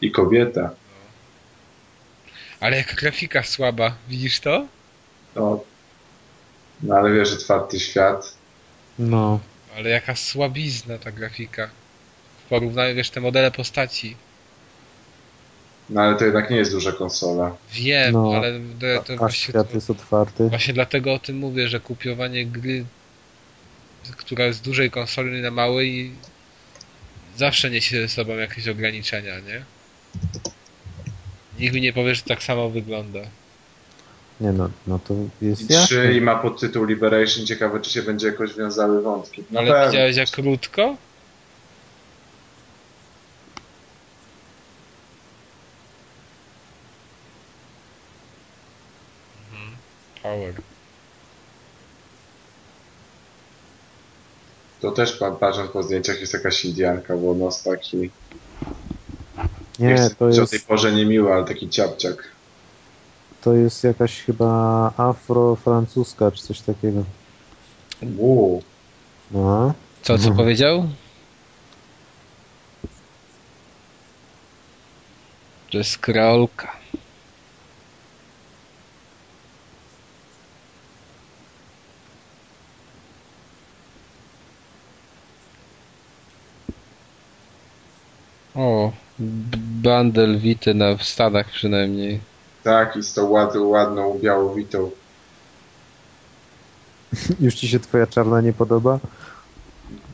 S3: I kobieta.
S1: Ale jaka grafika słaba, widzisz to?
S3: No, no ale wiesz, otwarty świat.
S2: No.
S1: Ale jaka słabizna ta grafika. W porównaniu, wiesz, te modele postaci.
S3: No ale to jednak nie jest duża konsola.
S1: Wiem,
S2: No,
S1: ale to, to
S2: A
S1: właśnie,
S2: świat jest otwarty.
S1: właśnie dlatego o tym mówię, że kupiowanie gry, która jest z dużej konsoli na małej, zawsze niesie ze sobą jakieś ograniczenia, nie? Nikt mi nie powie, że tak samo wygląda.
S2: Nie no, no to
S3: I
S2: jest
S3: trzy
S2: jasne.
S3: i ma podtytuł Liberation. Ciekawe, czy się będzie jakoś wiązały wątki.
S1: No ale
S3: Pewnie.
S1: widziałeś jak krótko? Mhm. Power.
S3: To też pan patrząc po zdjęciach jest taka sidianka, bo nos taki. Nie
S2: Nie,
S3: chcę
S2: to
S3: być o tej
S2: jest,
S3: porze niemiły, ale taki ciapciak.
S2: to jest jakaś chyba afro-francuska czy coś takiego.
S3: Uuu,
S2: No.
S1: Co, co
S2: Mhm.
S1: powiedział? To jest kreolka. O, b- bundle Wity na w Stanach przynajmniej.
S3: tak, i z tą ładną, ładną białowitą.
S2: Już ci się twoja czarna nie podoba?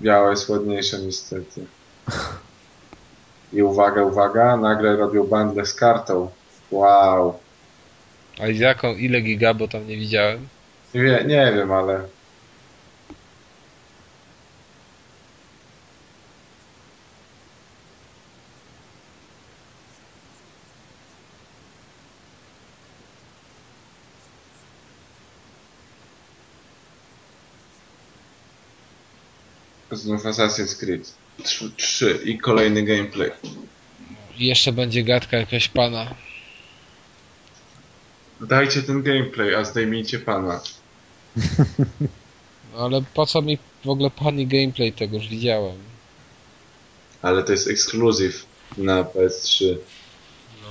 S3: Biała jest ładniejsza
S2: *laughs*
S3: niestety. I uwaga, uwaga, nagle robią bandle z kartą. Wow.
S1: Ale jaką, ile giga, bo tam nie widziałem.
S3: Nie, wie- nie wiem, ale znów Assassin's Creed 3, i kolejny gameplay.
S1: I Jeszcze będzie gadka jakaś pana.
S3: Dajcie ten gameplay, a zdejmijcie pana.
S1: No ale po co mi w ogóle pani gameplay tego już widziałem?
S3: Ale to jest ekskluzyw na PS3.
S1: No.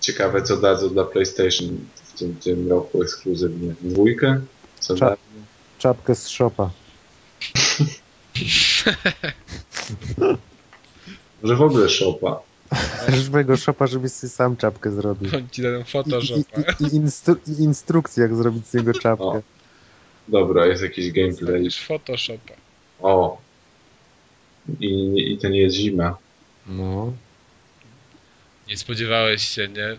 S3: Ciekawe, co dadzą dla PlayStation w tym, tym roku ekskluzywnie. Dwójkę? Co
S2: Cza-
S3: da?
S2: Czapkę z szopa.
S3: Może w ogóle Shopa.
S1: Tak.
S2: *laughs* Żywego szopa, żebyś sobie sam czapkę zrobił.
S1: Ci dają
S2: I, i,
S1: *laughs* Photoshopa.
S2: i, i, instru- i instrukcję, jak zrobić z niego czapkę.
S3: Dobra, jest jakiś gameplay.
S1: Dostaniesz Photoshopa.
S3: O! I, I to nie jest zima.
S2: No.
S1: Nie spodziewałeś się, nie?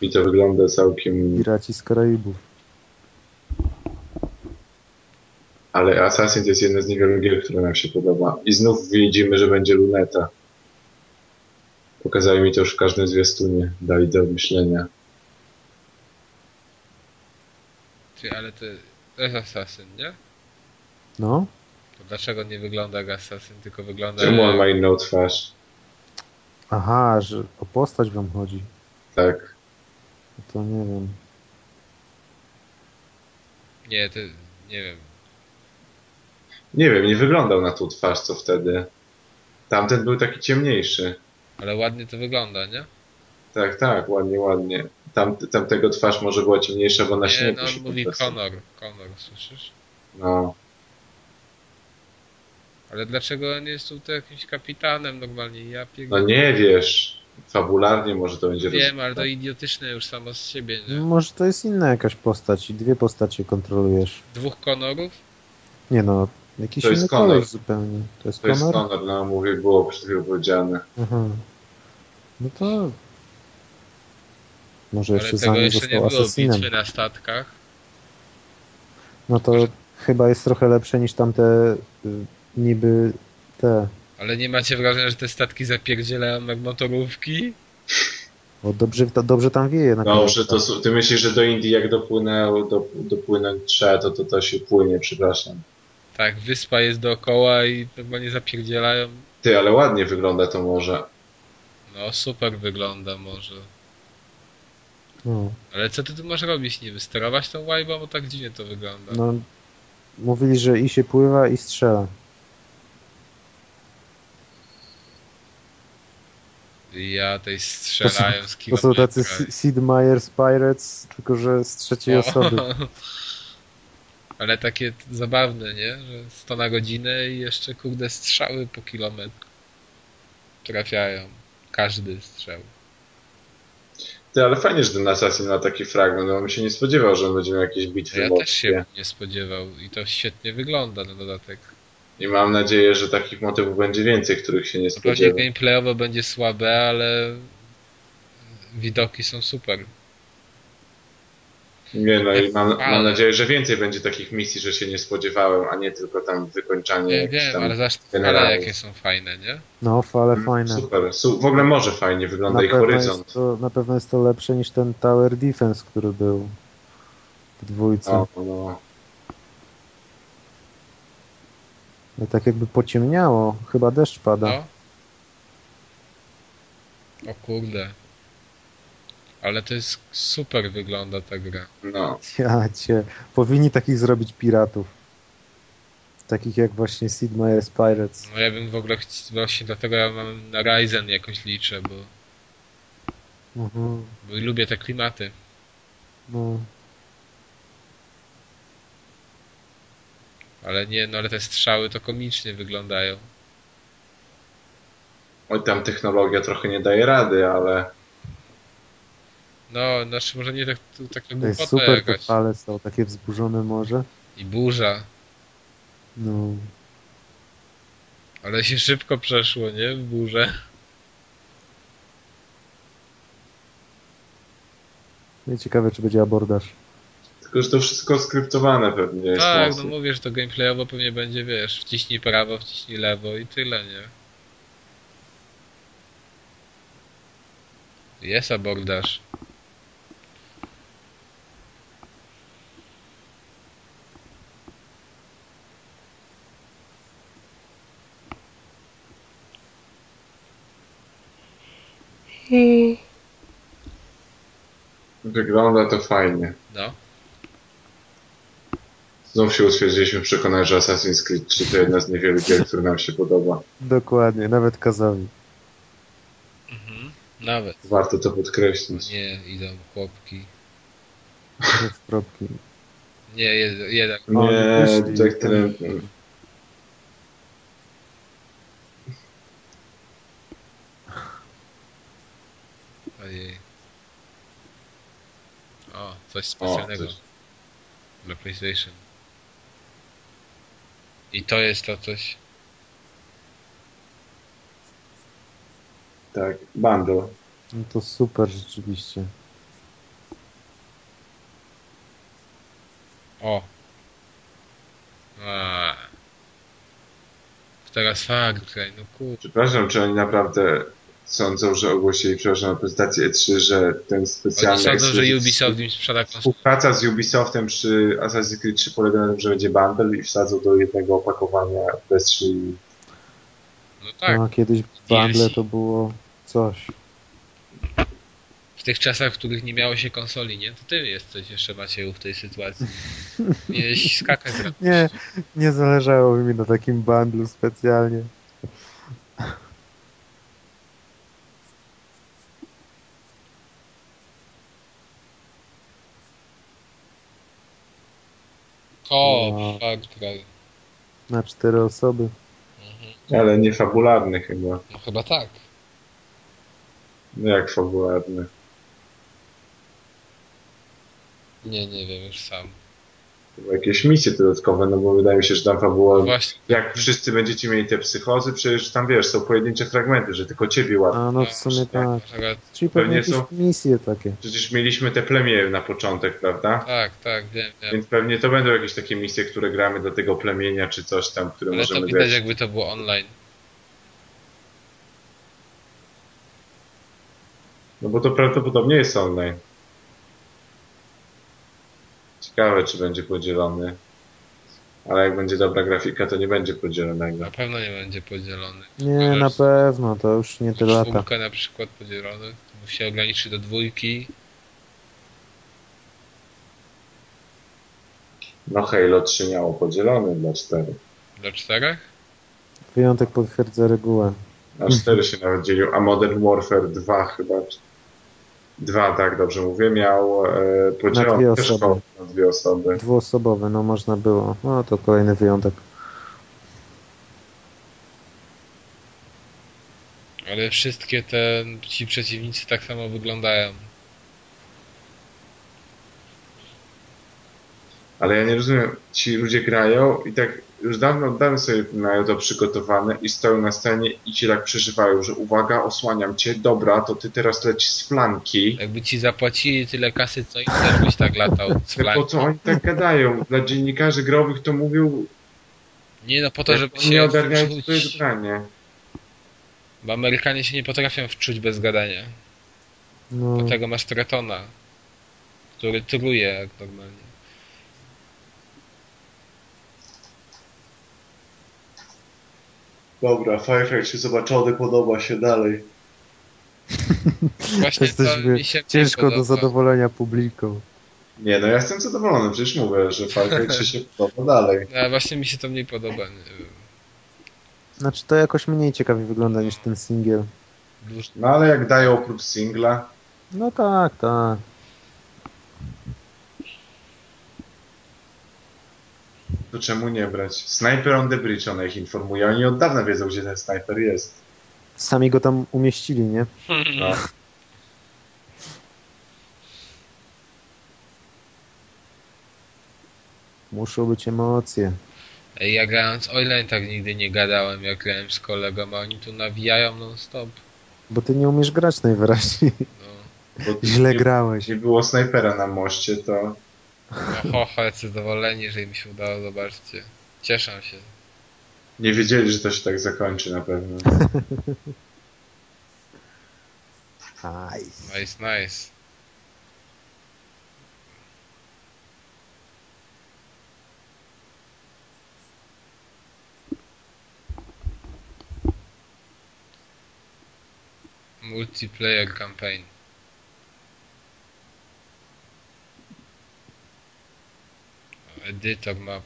S3: I to wygląda całkiem...
S2: Piraci z Karaibów.
S3: Ale Assassin to jest jedna z niewielu gier, która nam się podoba. I znów widzimy, że będzie luneta. Pokazali mi to już w każdym zwiastunie. Dali do myślenia.
S1: Ty, ale to, to jest Assassin, nie?
S2: No.
S1: To dlaczego nie wygląda jak Assassin, tylko wygląda
S3: Czemu on
S1: jak...
S3: ma inną twarz?
S2: Aha, że o postać wam chodzi.
S3: Tak.
S2: To nie wiem.
S1: Nie, to... nie wiem.
S3: Nie wiem, nie wyglądał na tą twarz, co wtedy. Tamten był taki ciemniejszy.
S1: Ale ładnie to wygląda, nie?
S3: Tak, tak, ładnie, ładnie. Tam, tamtego twarz może była ciemniejsza, bo na
S1: Nie,
S3: śniegu
S1: no on
S3: się
S1: mówi
S3: podniosła.
S1: Conor. Conor, słyszysz?
S3: No,
S1: Ale dlaczego on jest tutaj jakimś kapitanem normalnie? Ja
S3: no
S1: pierdolę.
S3: nie wiesz. Fabularnie może to będzie
S1: Wiem,
S3: rozwiązane.
S1: ale to idiotyczne już samo z siebie,
S3: Mm.
S1: nie?
S2: Może to jest inna jakaś postać i dwie postacie kontrolujesz.
S1: Dwóch Conorów?
S2: Nie no, jakiś
S3: To jest
S2: inny
S3: Connor.
S2: koleś zupełnie. To jest
S3: To jest
S2: Connor?
S3: honor, no mówię, było przed chwilą powiedziane.
S2: Aha. No to... Może
S1: Ale
S2: jeszcze
S1: tego
S2: zanim
S1: jeszcze nie
S2: został
S1: było.
S2: asesinem.
S1: Bitwy na statkach.
S2: No to chyba jest trochę lepsze niż tamte y, niby te.
S1: Ale nie macie wrażenia, że te statki zapierdzielają jak motorówki?
S2: O, dobrze, to, dobrze tam wieje na
S3: No,
S2: koniec.
S3: że to, są- ty myślisz, że do Indii jak dopłynęło, do, dopłynąć trzeba, to, to to się płynie, przepraszam.
S1: Tak, wyspa jest dookoła i normalnie zapierdzielają.
S3: Ty, ale ładnie wygląda to morze.
S1: No, No super wygląda może.
S2: No.
S1: Ale co ty tu masz robić niby? Sterować tą łajbą, bo tak dziwnie to wygląda.
S2: No, mówili, że i się pływa, i strzela.
S1: I ja tej strzelają z
S2: To są tacy
S1: kilometra.
S2: S- Sid Meier's Pirates, tylko że z trzeciej
S1: O. *laughs*
S2: osoby.
S1: Ale takie t- zabawne, nie? Że 100 na godzinę i jeszcze kurde strzały po kilometr trafiają. Każdy strzał.
S3: Ty, ale fajnie, że ten Assassin ma taki fragment, bo bym się nie spodziewał, że będziemy jakieś bitwy
S1: Ja
S3: morskie.
S1: też się nie spodziewał i to świetnie wygląda na dodatek.
S3: I mam nadzieję, że takich motywów będzie więcej, których się nie
S1: To Pewnie
S3: spodziewam.
S1: gameplayowo będzie słabe, ale widoki są super.
S3: Nie no i mam,
S1: Ale-
S3: mam nadzieję, że więcej będzie takich misji, że się nie spodziewałem, a nie tylko tam wykończanie
S1: Nie
S3: jakichś
S1: wiem,
S3: No, tam...
S1: ale zaś ale
S3: generalnie.
S1: jakie są fajne, nie?
S2: No, ale fajne.
S3: Mm, Super, su- w ogóle może fajnie wygląda
S2: Na
S3: ich
S2: pewno, jest
S3: horyzont.
S2: to, na pewno jest to lepsze niż ten Tower Defense, który był w dwójce.
S3: No, no.
S2: No, tak jakby pociemniało, chyba deszcz pada.
S1: No. O kurde. Ale to jest super wygląda ta gra.
S3: no.
S2: *laughs* Ja cię. Powinni takich zrobić piratów. Takich jak właśnie Sid Meier's Pirates.
S1: No ja bym w ogóle chci- właśnie dlatego ja mam na Ryzen jakoś liczę, bo,
S2: Mhm.
S1: bo lubię te klimaty.
S2: No.
S1: Ale nie, no ale te strzały to komicznie wyglądają.
S3: Oj, tam technologia trochę nie daje rady, ale...
S1: No, znaczy może nie tak, tu- taka
S2: To jest
S1: głupota
S2: super, te
S1: jakaś.
S2: fale są takie wzburzone morze.
S1: I burza.
S2: No.
S1: Ale się szybko przeszło, nie? W burzę.
S2: No i Ciekawe, czy będzie abordaż.
S3: Tylko, że to wszystko skryptowane pewnie jest.
S1: Tak, no
S3: mocno.
S1: mówię, że to gameplayowo pewnie będzie, wiesz, wciśnij prawo, wciśnij lewo i tyle, nie? Jest abordaż.
S3: Wygląda to fajnie.
S1: No.
S3: Znów się utwierdziliśmy w przekonaniu, że Assassin's Creed 3 to jedna z niewielu gier, które nam się podoba.
S2: Dokładnie, nawet Kazowi.
S1: Nawet.
S3: Warto to podkreślić.
S1: Nie, idą chłopki.
S2: w kropki.
S1: Nie, jed- jeden.
S3: Nie,
S2: Oni wyszli.
S3: tak tyle.
S1: Ojej. O, coś
S3: O,
S1: specjalnego
S3: coś.
S1: dla PlayStation. I to jest to coś.
S3: Tak, bundle.
S2: No to super rzeczywiście.
S1: O. A. Teraz Far Cry, no kur...
S3: Przepraszam, czy oni naprawdę sądzą, że ogłosili, przepraszam, na prezentacji E3, że ten
S1: Oni
S3: specjalny...
S1: sądzą, że
S3: ekskluzywny-
S1: Ubisoft im sprzeda konsolę.
S3: Współpraca z Ubisoftem przy Assassin's Creed 3 polega na tym, że będzie bundle i wsadzą do jednego opakowania PS3 i
S1: No tak.
S2: No, kiedyś bundle to było coś.
S1: W tych czasach, w których nie miało się konsoli, nie? To ty jesteś jeszcze Macieju w tej
S3: *laughs*
S1: sytuacji. Miałeś skakać ra-
S2: Nie, nie zależało mi na takim bundlu specjalnie.
S1: O,
S2: No.
S1: Far Cry.
S2: Na cztery osoby.
S1: Mhm.
S3: Ale nie fabularny chyba.
S1: No chyba tak.
S3: No jak fabularny?
S1: Nie, nie wiem już sam.
S3: Chyba jakieś misje dodatkowe, no bo wydaje mi się, że tam
S1: No
S3: fabuła...
S1: właśnie,
S3: Jak wszyscy będziecie mieli te psychozy, przecież tam wiesz, są pojedyncze fragmenty, że tylko ciebie łatwo.
S2: A no w sumie tak.
S1: masz rację.
S2: Czyli pewnie
S3: Pewnie
S2: jakieś
S3: są-
S2: misje takie.
S3: Przecież mieliśmy te plemię na początek, prawda?
S1: tak, tak, wiem, wiem.
S3: Więc pewnie to będą jakieś takie misje, które gramy do tego plemienia, czy coś tam, które
S1: Ale to
S3: możemy
S1: widać
S3: grać.
S1: jakby to było online.
S3: No bo to prawdopodobnie jest online. Ciekawe, czy będzie podzielony. Ale jak będzie dobra grafika, to nie będzie podzielonego.
S1: Na pewno nie będzie podzielony.
S2: Nie, na pewno, to już nie te lata.
S1: Czwórka na przykład podzielony, to się ograniczy do dwójki.
S3: No Halo 3 miało podzielony dla 4.
S1: Dla czterech?
S2: Wyjątek potwierdza regułę.
S3: Na
S2: Mhm.
S3: 4 się nawet dzielił, a Modern Warfare 2 chyba. czy- dwa tak dobrze mówię, miał e, podzielony
S2: dwie
S3: też
S2: osoby.
S3: kod na dwie osoby.
S2: Dwuosobowe, no można było. No to kolejny wyjątek.
S1: Ale wszystkie te ci przeciwnicy tak samo wyglądają.
S3: Ale ja nie rozumiem, ci ludzie grają i tak już dawno oddałem sobie na to przygotowane i stoją na scenie i ci tak przeżywają, że uwaga, osłaniam cię, dobra, to ty teraz lecisz z flanki.
S1: Jakby ci zapłacili tyle kasy, co im też byś tak latał z
S3: Po
S1: flanki.
S3: co oni tak gadają? Dla dziennikarzy growych to mówił,
S1: Nie no, po to, żeby
S3: nie
S1: się
S3: ogarniają, co to jest
S1: wczuć.
S3: granie.
S1: Bo Amerykanie się nie potrafią wczuć bez gadania.
S2: No,
S1: Do tego masz Tretona, który truje jak normalnie.
S3: Dobra, Firefox się zobaczony, podoba się dalej.
S1: Właśnie to
S2: jesteśmy
S1: mi się
S2: ciężko do
S1: podoba.
S2: zadowolenia publiką.
S3: Nie, no ja jestem zadowolony, przecież mówię, że Firefox się *laughs* podoba dalej.
S1: No, właśnie mi się to mniej podoba. nie wiem.
S2: Znaczy to jakoś mniej ciekawie wygląda niż ten singiel.
S1: Dłuż-
S3: No ale jak dają oprócz singla,
S2: No tak, tak.
S3: to czemu nie brać? Sniper on the bridge, one ich informuje, oni od dawna wiedzą, gdzie ten snajper jest.
S2: Sami go tam umieścili, nie?
S1: Mhm.
S3: No.
S2: Muszą być emocje.
S1: Ej, Ja grając online tak nigdy nie gadałem, jak grałem z kolegą, a oni tu nawijają non stop.
S2: Bo ty nie umiesz grać najwyraźniej. *laughs*
S1: No,
S3: Bo
S2: Źle
S3: nie-
S2: grałeś.
S3: Jeśli było snajpera na moście, to
S1: no ho, ho, jacy zadowoleni, że im się udało, zobaczcie. Cieszą się.
S3: nie wiedzieli, że to się tak zakończy na pewno.
S2: Aj.
S1: Nice, nice. Multiplayer campaign. Edytor map.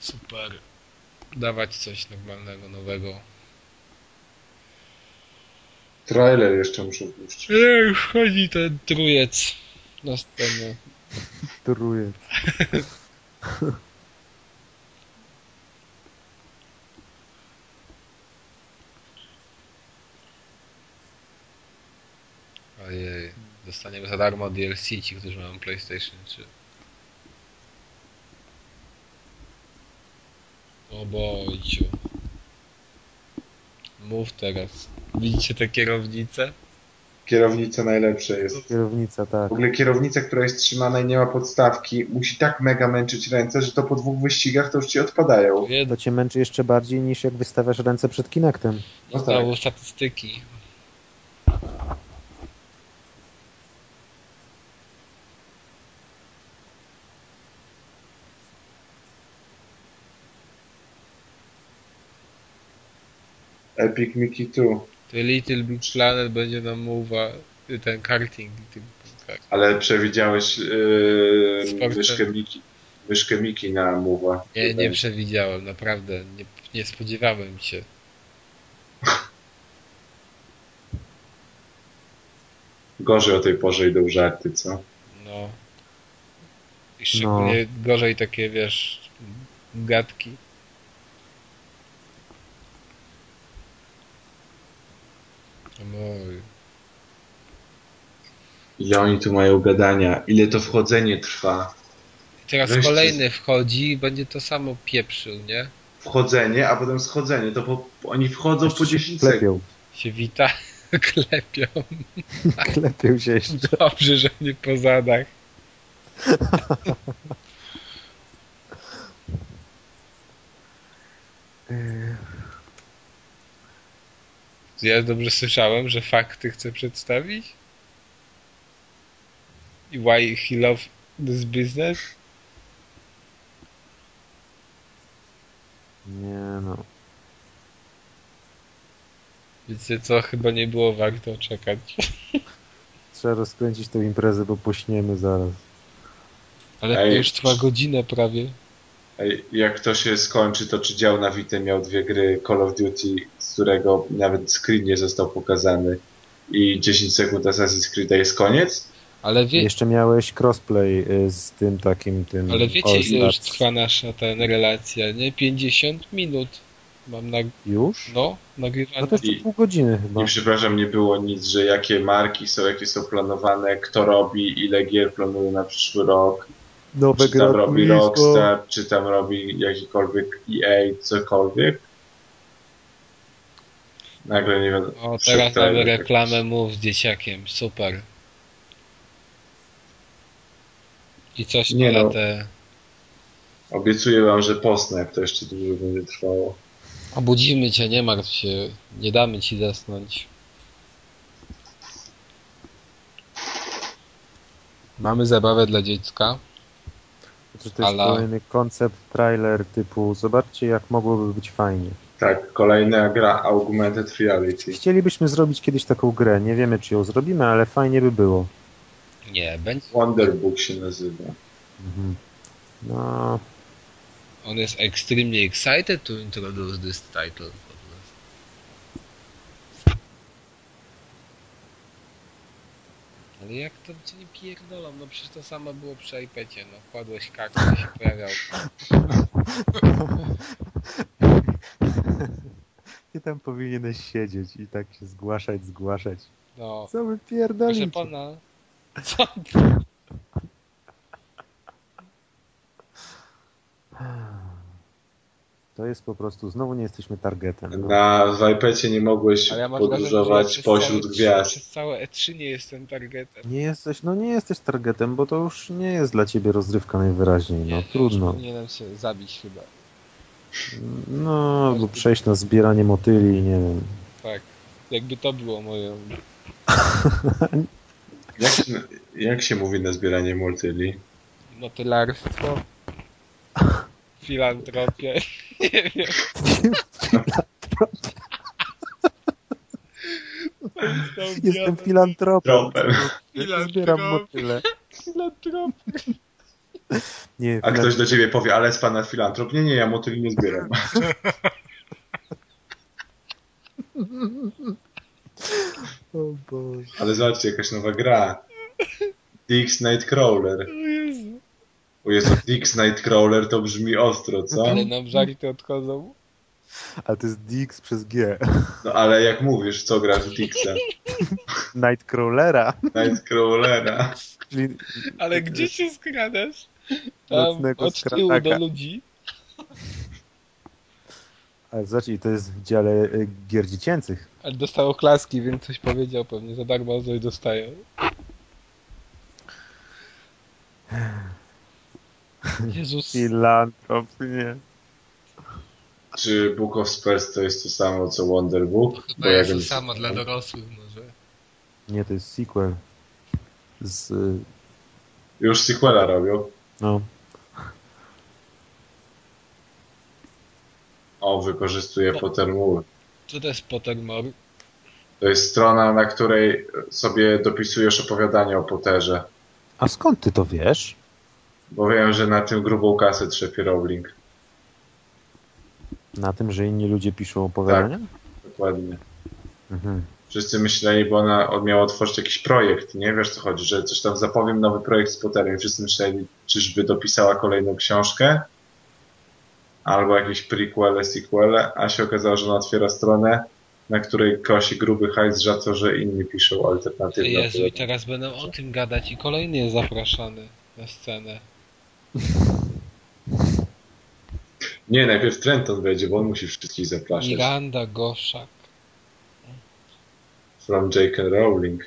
S1: Super. Dawać coś normalnego, nowego.
S3: Trailer jeszcze muszę puścić.
S1: Ej, E, wchodzi ten trujec na scenę.
S2: Truje.
S1: Ojej, dostaniemy za darmo DLC ci, którzy mają PlayStation 3. O bojciu. Mów teraz. Widzicie te kierownice?
S3: Kierownica najlepsza jest.
S2: Kierownica, tak.
S3: W ogóle kierownica, która jest trzymana i nie ma podstawki, musi tak mega męczyć ręce, że to po dwóch wyścigach to już ci odpadają.
S1: Jedno
S2: To cię męczy jeszcze bardziej niż jak wystawiasz ręce przed Kinectem.
S3: No tak.
S1: znowu statystyki.
S3: Epic Mickey 2.
S1: To Little Big Planet będzie nam mowa y, ten karting. Little Big Planet.
S3: Ale przewidziałeś yy,
S1: Sportem.
S3: myszkę Mickey. Myszkę Miki na mowa.
S1: Nie, nie przewidziałem, naprawdę. Nie, nie spodziewałem się.
S3: Gorzej o tej porze idą żarty, co?
S1: No. I szczególnie gorzej takie, wiesz, gadki. No,
S3: Ile oni tu mają gadania? ile to wchodzenie trwa.
S1: i teraz
S3: Weźcie-
S1: kolejny wchodzi i będzie to samo pieprzył, nie?
S3: Wchodzenie, a potem schodzenie. To po, oni wchodzą po 10 sekund.
S2: Klepią.
S1: Się wita, *laughs* klepią.
S2: Klepią się jeszcze.
S1: Dobrze, że nie po zadach. Ja dobrze słyszałem, że fakty chcę przedstawić? I why he love this business?
S2: Nie no.
S1: Wiecie co, chyba nie było warto czekać.
S2: Trzeba rozkręcić tę imprezę, bo pośniemy zaraz.
S1: Ale
S3: Ej.
S1: już trwa godzinę prawie.
S3: Ej, Jak to się skończy, to czy dział na Wite miał dwie gry Call of Duty, z którego nawet screen nie został pokazany i 10 sekund Assassin's Creed'a jest koniec?
S1: Ale, wie,
S2: Jeszcze miałeś crossplay y, z tym takim tym.
S1: ale wiecie ile już
S2: All-Stars.
S1: trwa nasza ta relacja, nie? 50 minut mam na,
S2: Już?
S1: no, nagrywane.
S2: No to jeszcze
S3: I-
S2: pół godziny chyba.
S3: I przepraszam, nie było nic, że jakie marki są, jakie są planowane, kto robi, ile gier planuje na przyszły rok,
S2: Nowe
S3: czy tam robi
S2: Turismo.
S3: Rockstar, czy tam robi jakikolwiek EA, cokolwiek. Nagle nie wiadomo.
S1: O,
S3: wszedł
S1: teraz
S3: trailer
S1: mamy
S3: jakiś.
S1: reklamę mów z dzieciakiem, super. I coś
S3: Nie
S1: nie na
S3: no.
S1: te...
S3: Obiecuję wam, że posnę, jak to jeszcze dłużej będzie trwało.
S1: Obudzimy cię, nie martw się, nie damy ci zasnąć. Mamy zabawę dla dziecka.
S2: Czy to jest
S1: Ala.
S2: kolejny koncept, trailer typu zobaczcie jak mogłoby być fajnie.
S3: Tak, kolejna gra Augmented Reality.
S2: Chcielibyśmy zrobić kiedyś taką grę, nie wiemy czy ją zrobimy, ale fajnie by było.
S1: Nie, będzie.
S3: Wonderbook się nazywa.
S2: Mhm. No, *laughs*
S1: On jest extremely excited to introduce this title. Ale jak to cię nie pierdolą? No przecież to samo było przy iPadzie, no. Kładłeś kaktus i się pojawiał.
S2: ty tam powinieneś siedzieć i tak się zgłaszać, zgłaszać.
S1: No.
S2: Co wy
S1: Proszę
S2: pierdolicie?
S1: pana. Co?
S2: To jest po prostu, znowu nie jesteśmy targetem. No.
S3: Na w iPadzie nie mogłeś
S1: Ale ja mam wrażenie,
S3: podróżować
S1: że przez
S3: pośród
S1: całe- E
S3: gwiazd.
S1: Przez całe E3 nie jestem targetem.
S2: Nie jesteś, no nie jesteś targetem, bo to już nie jest dla ciebie rozrywka najwyraźniej, no trudno.
S1: Powinienem się zabić chyba.
S2: No, albo przejść na zbieranie motyli, nie wiem. *laughs*
S1: Tak. Jakby to było moje...
S3: Jak, się- jak się mówi na zbieranie motyli?
S1: *laughs* motylarstwo. Filantropię. Nie wiem.
S2: Jestem filantropem.
S3: Tropem.
S2: Zbieram motyle.
S1: Filantrop.
S2: Nie,
S3: A
S2: filan-
S3: ktoś do ciebie powie, ale jest pana filantrop? Nie, nie, ja motyli nie zbieram.
S2: O Boże.
S3: Ale zobaczcie, jakaś nowa gra. Dix Nightcrawler.
S1: O Jezu.
S3: O Jezu, Dix Nightcrawler to brzmi ostro, co?
S1: Ale nam żarty odchodzą.
S2: A to jest Dix przez G. *laughs*
S3: No ale jak mówisz, co grasz w Dixa?
S2: Nightcrawlera, *laughs*
S3: Nightcrawlera.
S2: czyli
S1: Ale gdzie się skradasz? Tam
S2: Nocnego
S1: od tyłu do
S2: skradaka.
S1: ludzi.
S2: A zacznij, to jest w dziale y, gier dziecięcych.
S1: Ale dostał oklaski, więc coś powiedział pewnie. Za darmo coś dostaje. Jezus.
S2: Filantrop, nie.
S3: Czy Book of Spells to jest to samo, co Wonder Book? Bo No ja wiem-
S1: dorosłych może.
S2: Nie, to jest sequel. Z, y,
S3: Już sequela robią.
S2: no,
S3: O, wykorzystuje Potter Moore.
S1: Co to jest Pottermore?
S3: To jest strona, na której sobie dopisujesz opowiadanie o Potterze.
S2: a skąd ty to wiesz?
S3: Bo wiem, że na tym grubą kasę trzepie Rowling.
S2: Na tym, że inni ludzie piszą opowiadania?
S1: Tak.
S3: Dokładnie.
S2: Mhm.
S3: Wszyscy myśleli, bo ona on miała otworzyć jakiś projekt, nie? Wiesz co chodzi, że coś tam zapowiem, nowy projekt z Potterem. Wszyscy myśleli, czyżby dopisała kolejną książkę albo jakieś prequele, sequele, a się okazało, że ona otwiera stronę, na której kosi gruby hajs za to, że inni piszą alternatywne.
S1: Jezu, i
S3: opowiadania.
S1: teraz będą o tym gadać i kolejny jest zapraszany na scenę.
S3: Nie, najpierw Trenton wejdzie, bo on musi wszystkich zapraszać.
S1: Miranda Goszak.
S3: From J.K. Rowling.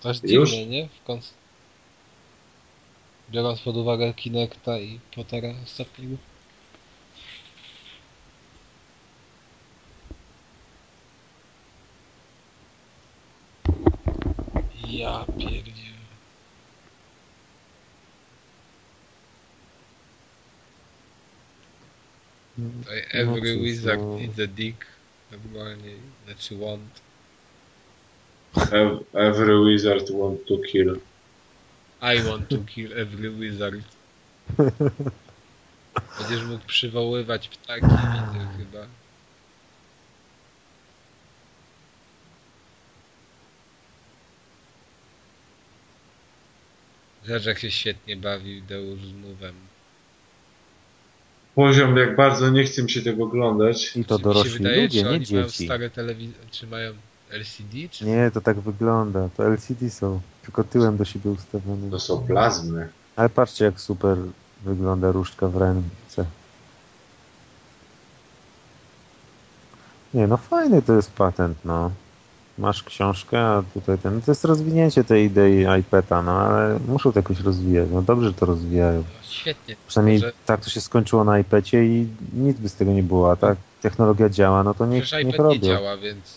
S1: To jest
S3: Już?
S1: dziwne, nie? W konc... Biorąc pod uwagę Kinecta i Pottera ostatniego. Ja pierdzie. Tutaj every
S2: Mm, cóż,
S1: wizard
S2: no.
S1: needs a dick. Normalnie, znaczy want.
S3: Ev- Every wizard want to kill.
S1: I want to kill every wizard. Będziesz mógł przywoływać ptaki, widzę chyba. Zobacz jak się świetnie bawił Deus z mówem.
S3: Poziom, jak bardzo nie chce mi się tego oglądać.
S2: I to
S1: Czy mi się
S2: dorośli
S1: wydaje,
S2: ludzie,
S1: czy
S2: nie
S1: oni mają
S2: dzieci.
S1: stare telewizory, czy mają LCD, czy
S2: Nie, to tak wygląda. To LCD są, tylko tyłem do siebie ustawione.
S3: To są plazmy.
S2: Ale patrzcie, jak super wygląda różdżka w ręce. Nie, no fajny to jest patent, no. Masz książkę, a tutaj ten... To jest rozwinięcie tej idei iPada, no ale muszą to jakoś rozwijać. No dobrze że to rozwijają.
S1: No, świetnie.
S2: Przynajmniej
S1: Że-
S2: tak to się skończyło na iPadzie i nic by z tego nie było, a tak technologia działa, no to niech,
S1: Przecież
S2: niech
S1: iPad nie
S2: robią.
S1: działa, więc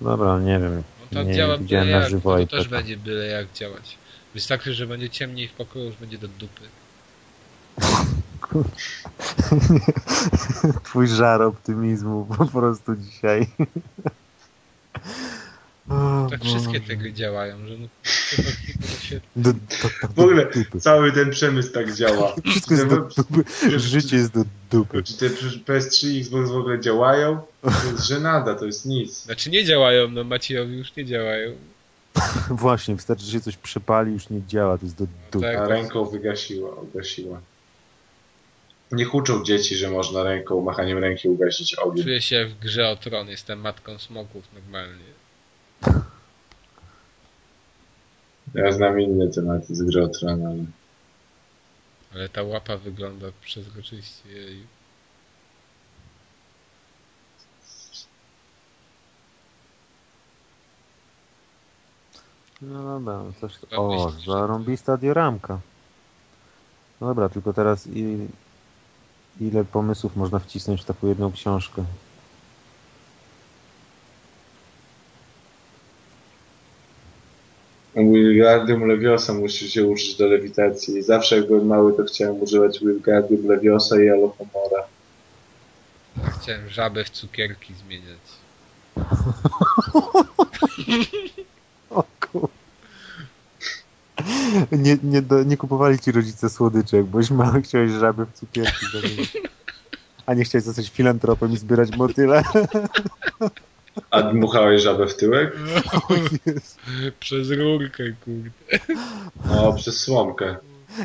S2: Dobra, nie wiem.
S1: on tam
S2: Nie,
S1: No działa
S2: widziałem
S1: byle
S2: na
S1: jak,
S2: żywo tak.
S1: no to
S2: iPad.
S1: też będzie byle jak działać. Wystarczy, że będzie ciemniej w pokoju, już będzie do dupy.
S2: Twój żar optymizmu *laughs* po prostu dzisiaj. *laughs* O,
S1: Tak
S2: Boże.
S1: wszystkie te gry działają, że no, to tak- to się...
S2: Do, do, do, do
S3: W ogóle
S2: dupy.
S3: cały ten przemysł tak działa.
S2: *laughs* Wszystko jest do dupy.
S3: że-
S2: Życie jest do dupy.
S3: Czy te PS3 i Xbox w ogóle działają? To jest żenada, to jest nic.
S1: Znaczy nie działają, no Maciejowi już nie działają.
S2: Właśnie, wystarczy, że się coś przepali, już nie działa, to jest do dupy.
S1: tak.
S3: A ręką wygasiła, ugasiła. Niech uczą dzieci, że można ręką, machaniem ręki ugasić ogień.
S1: Czuję się jak w grze o tron, jestem matką smoków normalnie.
S3: Ja znam inny temat z gry o Tron, ale...
S1: Ale ta łapa wygląda przezroczyście. jeju.
S2: No dobra, no coś... O, zarąbista dioramka. No dobra, tylko teraz i... ile pomysłów można wcisnąć w taką jedną książkę?
S3: Wilgardium Leviosa musi się uczyć do lewitacji. Zawsze jak byłem mały, to chciałem używać Wilgardium Leviosa i Alohomora.
S1: Ja chciałem żabę w cukierki zmieniać.
S2: O kur... Nie, nie, do, nie kupowali ci rodzice słodyczek, boś mały chciałeś żaby w cukierki zamienić. A nie chciałeś zostać filantropem i zbierać motyle. *laughs*
S3: A dmuchałeś żabę w tyłek?
S2: O Jezu.
S1: Przez rurkę, kurde.
S3: No, przez słomkę.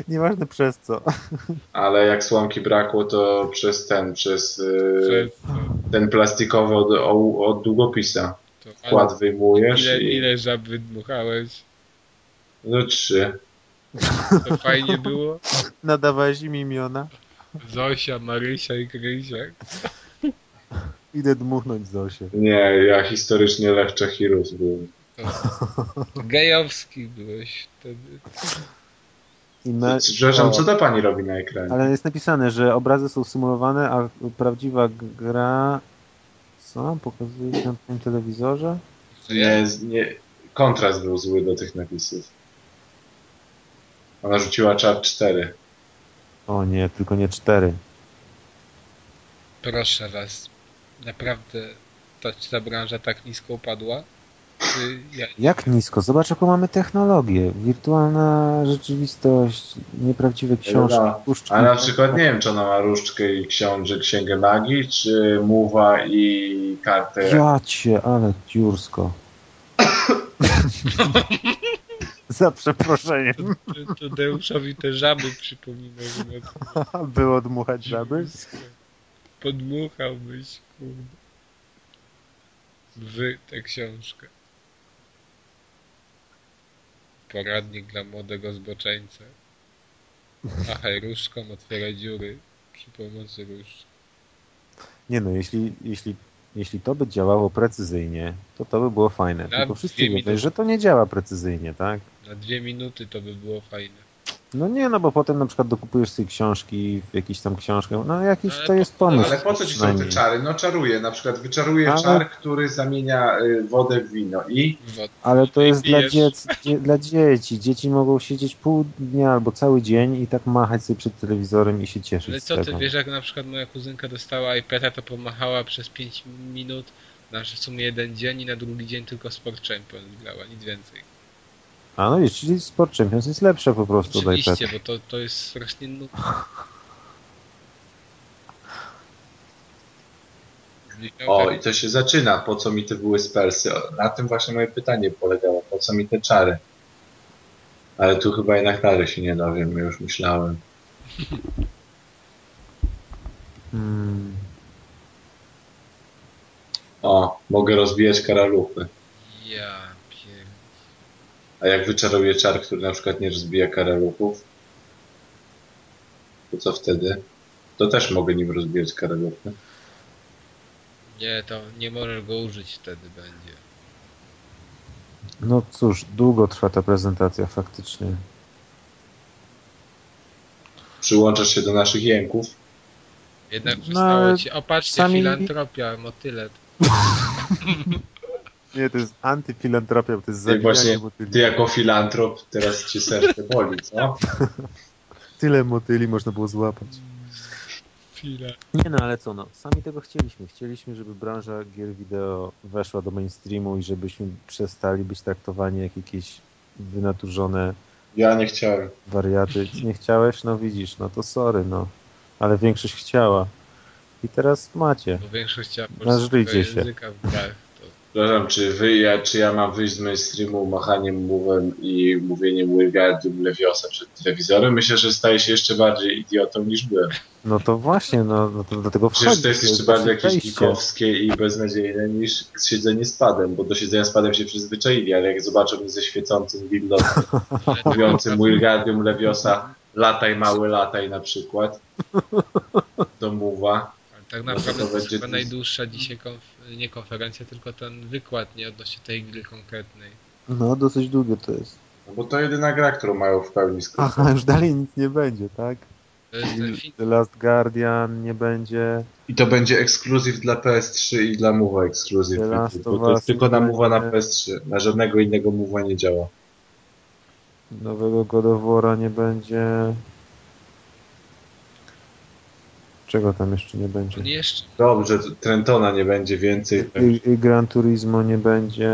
S2: Nieważne przez co.
S3: Ale jak słomki brakło, to przez ten, przez
S1: Yy,
S3: y,
S1: Przez to.
S3: ten plastikowy od, o- od długopisa.
S1: to ale
S3: Wkład wyjmujesz
S1: ile,
S3: i...
S1: ile żab wydmuchałeś?
S3: No trzy.
S1: To fajnie było?
S2: Nadawałeś im imiona.
S1: Zosia, Marysia i Krysia.
S2: Idę dmuchnąć Zosię.
S3: Nie, ja historycznie Lech Czachirus był.
S1: Gejowski byłeś wtedy.
S2: No I na...
S3: Przepraszam,
S2: O.
S3: co ta pani robi na ekranie?
S2: Ale jest napisane, że obrazy są symulowane, a prawdziwa gra... Co? Pokazuje się na tym telewizorze?
S3: Nie, nie, kontrast był zły do tych napisów. Ona rzuciła czar 4.
S2: O nie, tylko nie cztery.
S1: Proszę was, naprawdę ta, czy ta branża tak nisko upadła? Czy ja,
S2: Jak nisko? Zobacz, jaką mamy technologię. Wirtualna rzeczywistość, nieprawdziwe książki,
S3: No,
S2: puszczki.
S3: A na przykład nie wiem, czy ona ma różdżkę i książę Księgę Magii, czy Muwa i kartę.
S2: Ja cię, ale
S3: *laughs*
S2: dziursko. Za przeproszeniem. *laughs*
S1: to, to Deuszowi te żaby przypominają. jak
S2: Było dmuchać żaby?
S1: Podmuchałbyś, kurde. Wy tę książkę. Poradnik dla młodego zboczeńca. Machaj różdżką, otwieraj dziury przy pomocy różdżki.
S2: Nie no, jeśli, jeśli, jeśli to by działało precyzyjnie, to to by było fajne.
S1: Na
S2: Tylko wszyscy
S1: dwie
S2: wiemy,
S1: minuty.
S2: że to nie działa precyzyjnie, tak?
S1: Na dwie minuty to by było fajne.
S2: No nie, no bo potem na przykład dokupujesz sobie książki, jakieś tam książkę, no jakiś
S1: Ale
S2: to
S1: po-
S2: jest pomysł.
S3: Ale po co ci są te
S2: przynajmniej.
S3: czary? No czaruje, na przykład wyczaruje
S2: Ale-
S3: czar, który zamienia y, wodę w wino i
S1: Kurwa,
S2: Ale to jest dla,
S1: pijesz.
S2: dziec, dzie, dla dzieci. Dzieci mogą siedzieć pół dnia albo cały dzień i tak machać sobie przed telewizorem i się cieszyć
S1: Ale
S2: z
S1: co ty
S2: tego.
S1: wiesz, jak na przykład moja kuzynka dostała iPada, to pomachała przez 5 minut, na w sumie jeden dzień i na drugi dzień tylko Sport Champions grała, nic więcej.
S2: A no wiesz, czyli Sport Champions jest lepsze po prostu tak. od iPada.
S1: Oczywiście, bo to, to jest strasznie *laughs* nudne.
S3: o, i to się zaczyna. Po co mi te były spelsy? O, Na tym właśnie moje pytanie polegało. Po co mi te czary? Ale tu chyba jednak dalej się nie dowiem, już myślałem.
S2: Hmm.
S3: O, mogę rozbijać karaluchy.
S1: Ja pier...
S3: A jak wyczaruję czar, który na przykład nie rozbija karaluchów, to co wtedy? To też mogę nim rozbijać karaluchy.
S1: Nie, to nie możesz go użyć wtedy będzie.
S2: No cóż, długo trwa ta prezentacja faktycznie.
S3: Przyłączasz się do naszych jęków.
S1: Jednak
S2: No,
S1: zostało
S2: ale
S1: ci... O, patrzcie,
S2: sami-
S1: filantropia, motyle.
S2: Nie, to jest antyfilantropia, bo to jest
S3: Ty
S2: zabijanie
S3: właśnie,
S2: motyli.
S3: ty jako filantrop, teraz cię serce boli, co?
S2: Tyle motyli można było złapać.
S1: Chwila.
S2: Nie no, ale co no, sami tego chcieliśmy. Chcieliśmy, żeby branża gier wideo weszła do mainstreamu i żebyśmy przestali być traktowani jak jakieś wynaturzone
S3: Ja nie chciałem.
S2: wariaty. Nie chciałeś? No widzisz, no to sorry, no. Ale większość chciała. I teraz macie.
S1: Bo większość chciała polskiego
S2: Nażryjcie No, się.
S1: języka w grach. To...
S3: Przepraszam, czy wy, ja, czy ja mam wyjść z mainstreamu machaniem mówem i mówieniem Wingardium Leviosa przed telewizorem? Myślę, że staję się jeszcze bardziej idiotą niż byłem.
S2: No to właśnie, no, no to dlatego
S3: Przecież
S2: wchodzi,
S3: to jest jeszcze
S2: wasze
S3: bardziej jakieś
S2: wejście.
S3: gikowskie i beznadziejne niż siedzenie z padem, bo do siedzenia z padem się przyzwyczaili, ale jak zobaczą mnie ze świecącym billosem *laughs* mówiącym Wingardium Leviosa lataj mały lataj na przykład do muwa,
S1: Ale tak
S3: No to
S1: naprawdę
S3: to
S1: to jest
S3: będzie
S1: chyba
S3: to-
S1: najdłuższa dzisiaj konf- nie konferencja, tylko ten wykład nie odnośnie tej gry konkretnej.
S2: No dosyć długie to jest.
S3: No bo to jedyna gra, którą mają w pełni skrót.
S2: Aha, już dalej nic nie będzie, tak?
S1: To jest ten film,
S2: The Last Guardian nie będzie.
S3: I to będzie ekskluzyw dla PS3 i dla Mowa ekskluzyw.
S2: The Last of
S3: Bo to
S2: Us
S3: jest tylko na
S2: będzie-
S3: Mowa na PS3. Na żadnego innego Mowa nie działa.
S2: Nowego God of War'a nie będzie. Czego tam jeszcze nie będzie?
S1: on jeszcze
S3: Dobrze, to Trentona nie będzie więcej.
S2: I, i Gran Turismo nie będzie.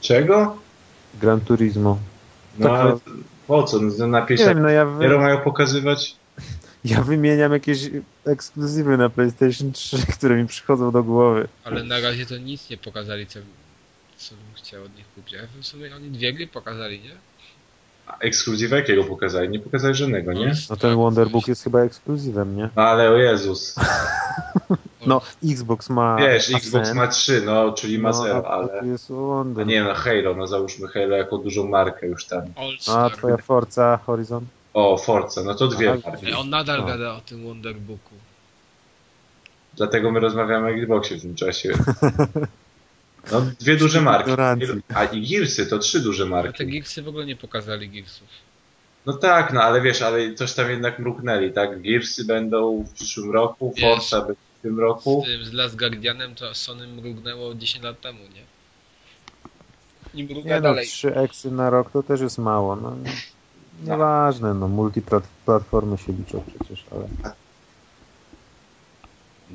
S3: Czego?
S2: Gran Turismo.
S3: No
S2: Tak,
S3: ale po co? No, na
S2: Nie wiem,
S3: pieśniach
S2: no ja, wy,
S3: dopiero mają pokazywać?
S2: ja wymieniam jakieś ekskluzywy na PlayStation 3, *laughs* które mi przychodzą do głowy.
S1: Ale na razie to nic nie pokazali, co, co bym chciał od nich kupić. A w sumie oni dwie gry pokazali, nie?
S3: A Ekskluzywa jakiego pokazali? Nie pokazali żadnego, nie?
S2: No ten Wonderbook jest chyba ekskluzywem, nie?
S3: No ale o Jezus.
S2: No, Xbox ma.
S3: Wiesz,
S2: ma
S3: Xbox
S2: sen,
S3: ma 3, no, czyli ma
S2: no,
S3: 0,
S2: a- a
S3: ale...
S2: tu Jest Wonder.
S3: Nie no, Halo, no załóżmy Halo jako dużą markę już tam.
S1: All
S2: No, A
S1: Star.
S2: twoja Forza Horizon?
S3: O, Forza, no to dwie
S2: Aha,
S3: bardziej.
S1: Ej, E, On nadal
S2: A.
S1: gada o tym Wonderbooku.
S3: Dlatego my rozmawiamy o Xboxie w tym czasie. No, dwie duże marki.
S2: Ignorancji.
S3: A i Gearsy to trzy duże
S1: Ale te
S3: marki.
S1: Geeksy w ogóle nie pokazali Geeksów.
S3: No tak, no ale wiesz, ale coś tam jednak mruknęli, tak? Gearsy będą w przyszłym roku,
S1: Wiesz.
S3: Forza będzie w tym roku.
S1: Z tym z Last Guardianem to Sony mrugnęło 10 lat temu, nie? I mrugna
S2: Nie no,
S1: dalej.
S2: 3 eksy na rok to też jest mało. No,
S3: No.
S2: nieważne, no multiplatformy się liczą przecież, ale...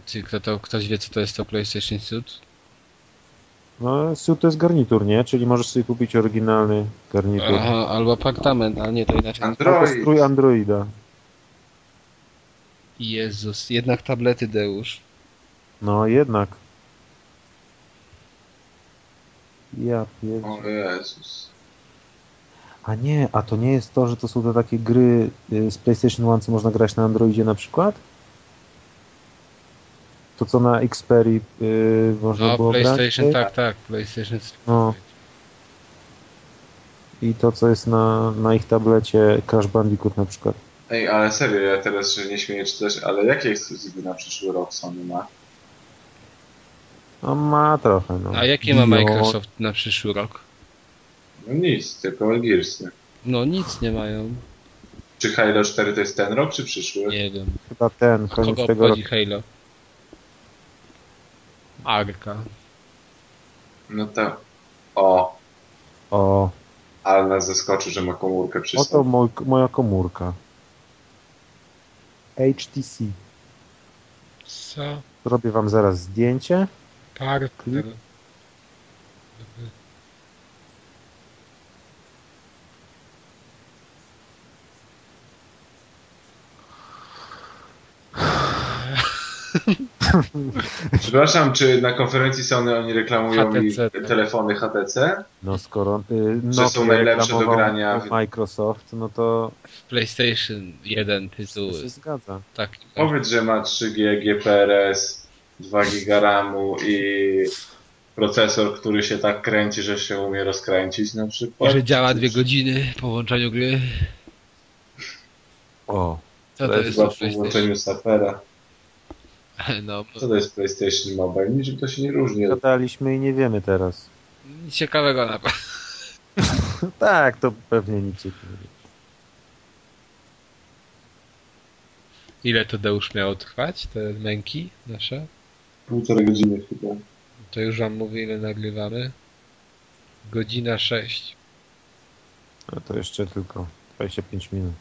S1: Czy kto to, ktoś wie, co to jest to PlayStation Suit?
S2: No, SUV to jest garnitur, nie? Czyli możesz sobie kupić oryginalny garnitur.
S1: Aha, albo apartament, ale nie, to inaczej.
S2: No, to
S3: Android.
S2: strój Androida.
S1: Jezus, jednak tablety Deusz.
S2: No, jednak. Ja pierd...
S3: O Jezus.
S2: A nie, a to nie jest to, że to są te takie gry y, z PlayStation 1, co można grać na Androidzie na przykład? To co na Xperia y, można
S1: No,
S2: było
S1: PlayStation,
S2: grać?
S1: tak, tak, PlayStation Suit.
S2: No. I to, co jest na, na ich tablecie Crash Bandicoot na przykład.
S3: Ej, ale serio, ja teraz się nie śmieję czy coś, ale jakie ekskluzywy na przyszły rok Sony ma?
S2: No ma trochę, no.
S1: A jakie ma
S2: Dio-
S1: Microsoft na przyszły rok?
S3: No nic, tylko Gearsy.
S1: No nic nie mają.
S3: Czy Halo 4 to jest ten rok, czy przyszły?
S1: Nie wiem.
S2: Chyba ten,
S1: A
S2: koniec
S1: Kogo
S2: tego roku.
S1: obchodzi Halo? Arka.
S3: No tak. O,
S2: O,
S3: ale nas zaskoczy, że ma komórkę przy
S2: oto
S3: sobie.
S2: mój, moja komórka. HTC.
S1: Co?
S2: Zrobię wam zaraz zdjęcie.
S1: Partner.
S3: Przepraszam, czy na konferencji Sony oni reklamują
S1: HTC,
S3: i
S1: tak.
S3: telefony HTC?
S2: No skoro y,
S3: Że są
S2: Nokia
S3: najlepsze do
S2: reklamował
S3: grania w-
S2: Microsoft, no to
S1: W PlayStation 1 tytuł
S2: to się zgadza.
S1: tak.
S3: Powiedz, że ma 3G, GPRS, 2 GB RAMu i procesor, który się tak kręci, że się umie rozkręcić na przykład.
S1: Że działa dwie godziny po włączaniu gry.
S2: O,
S1: Co to
S3: to
S1: jest
S3: chyba
S1: za
S3: po
S1: PlayStation?
S3: włączeniu sapera.
S1: *laughs* No,
S3: Co to jest PlayStation Mobile? Niczym to się nie różni. od-
S2: gadaliśmy i nie wiemy teraz.
S1: nic ciekawego na pewno.
S2: No tak, to pewnie nic się nie wie.
S1: Ile to Deusz miało trwać, te męki nasze?
S3: Półtorej godziny chyba.
S1: To już wam mówię, ile nagrywamy. Godzina 6.
S2: No to jeszcze tylko 25 minut.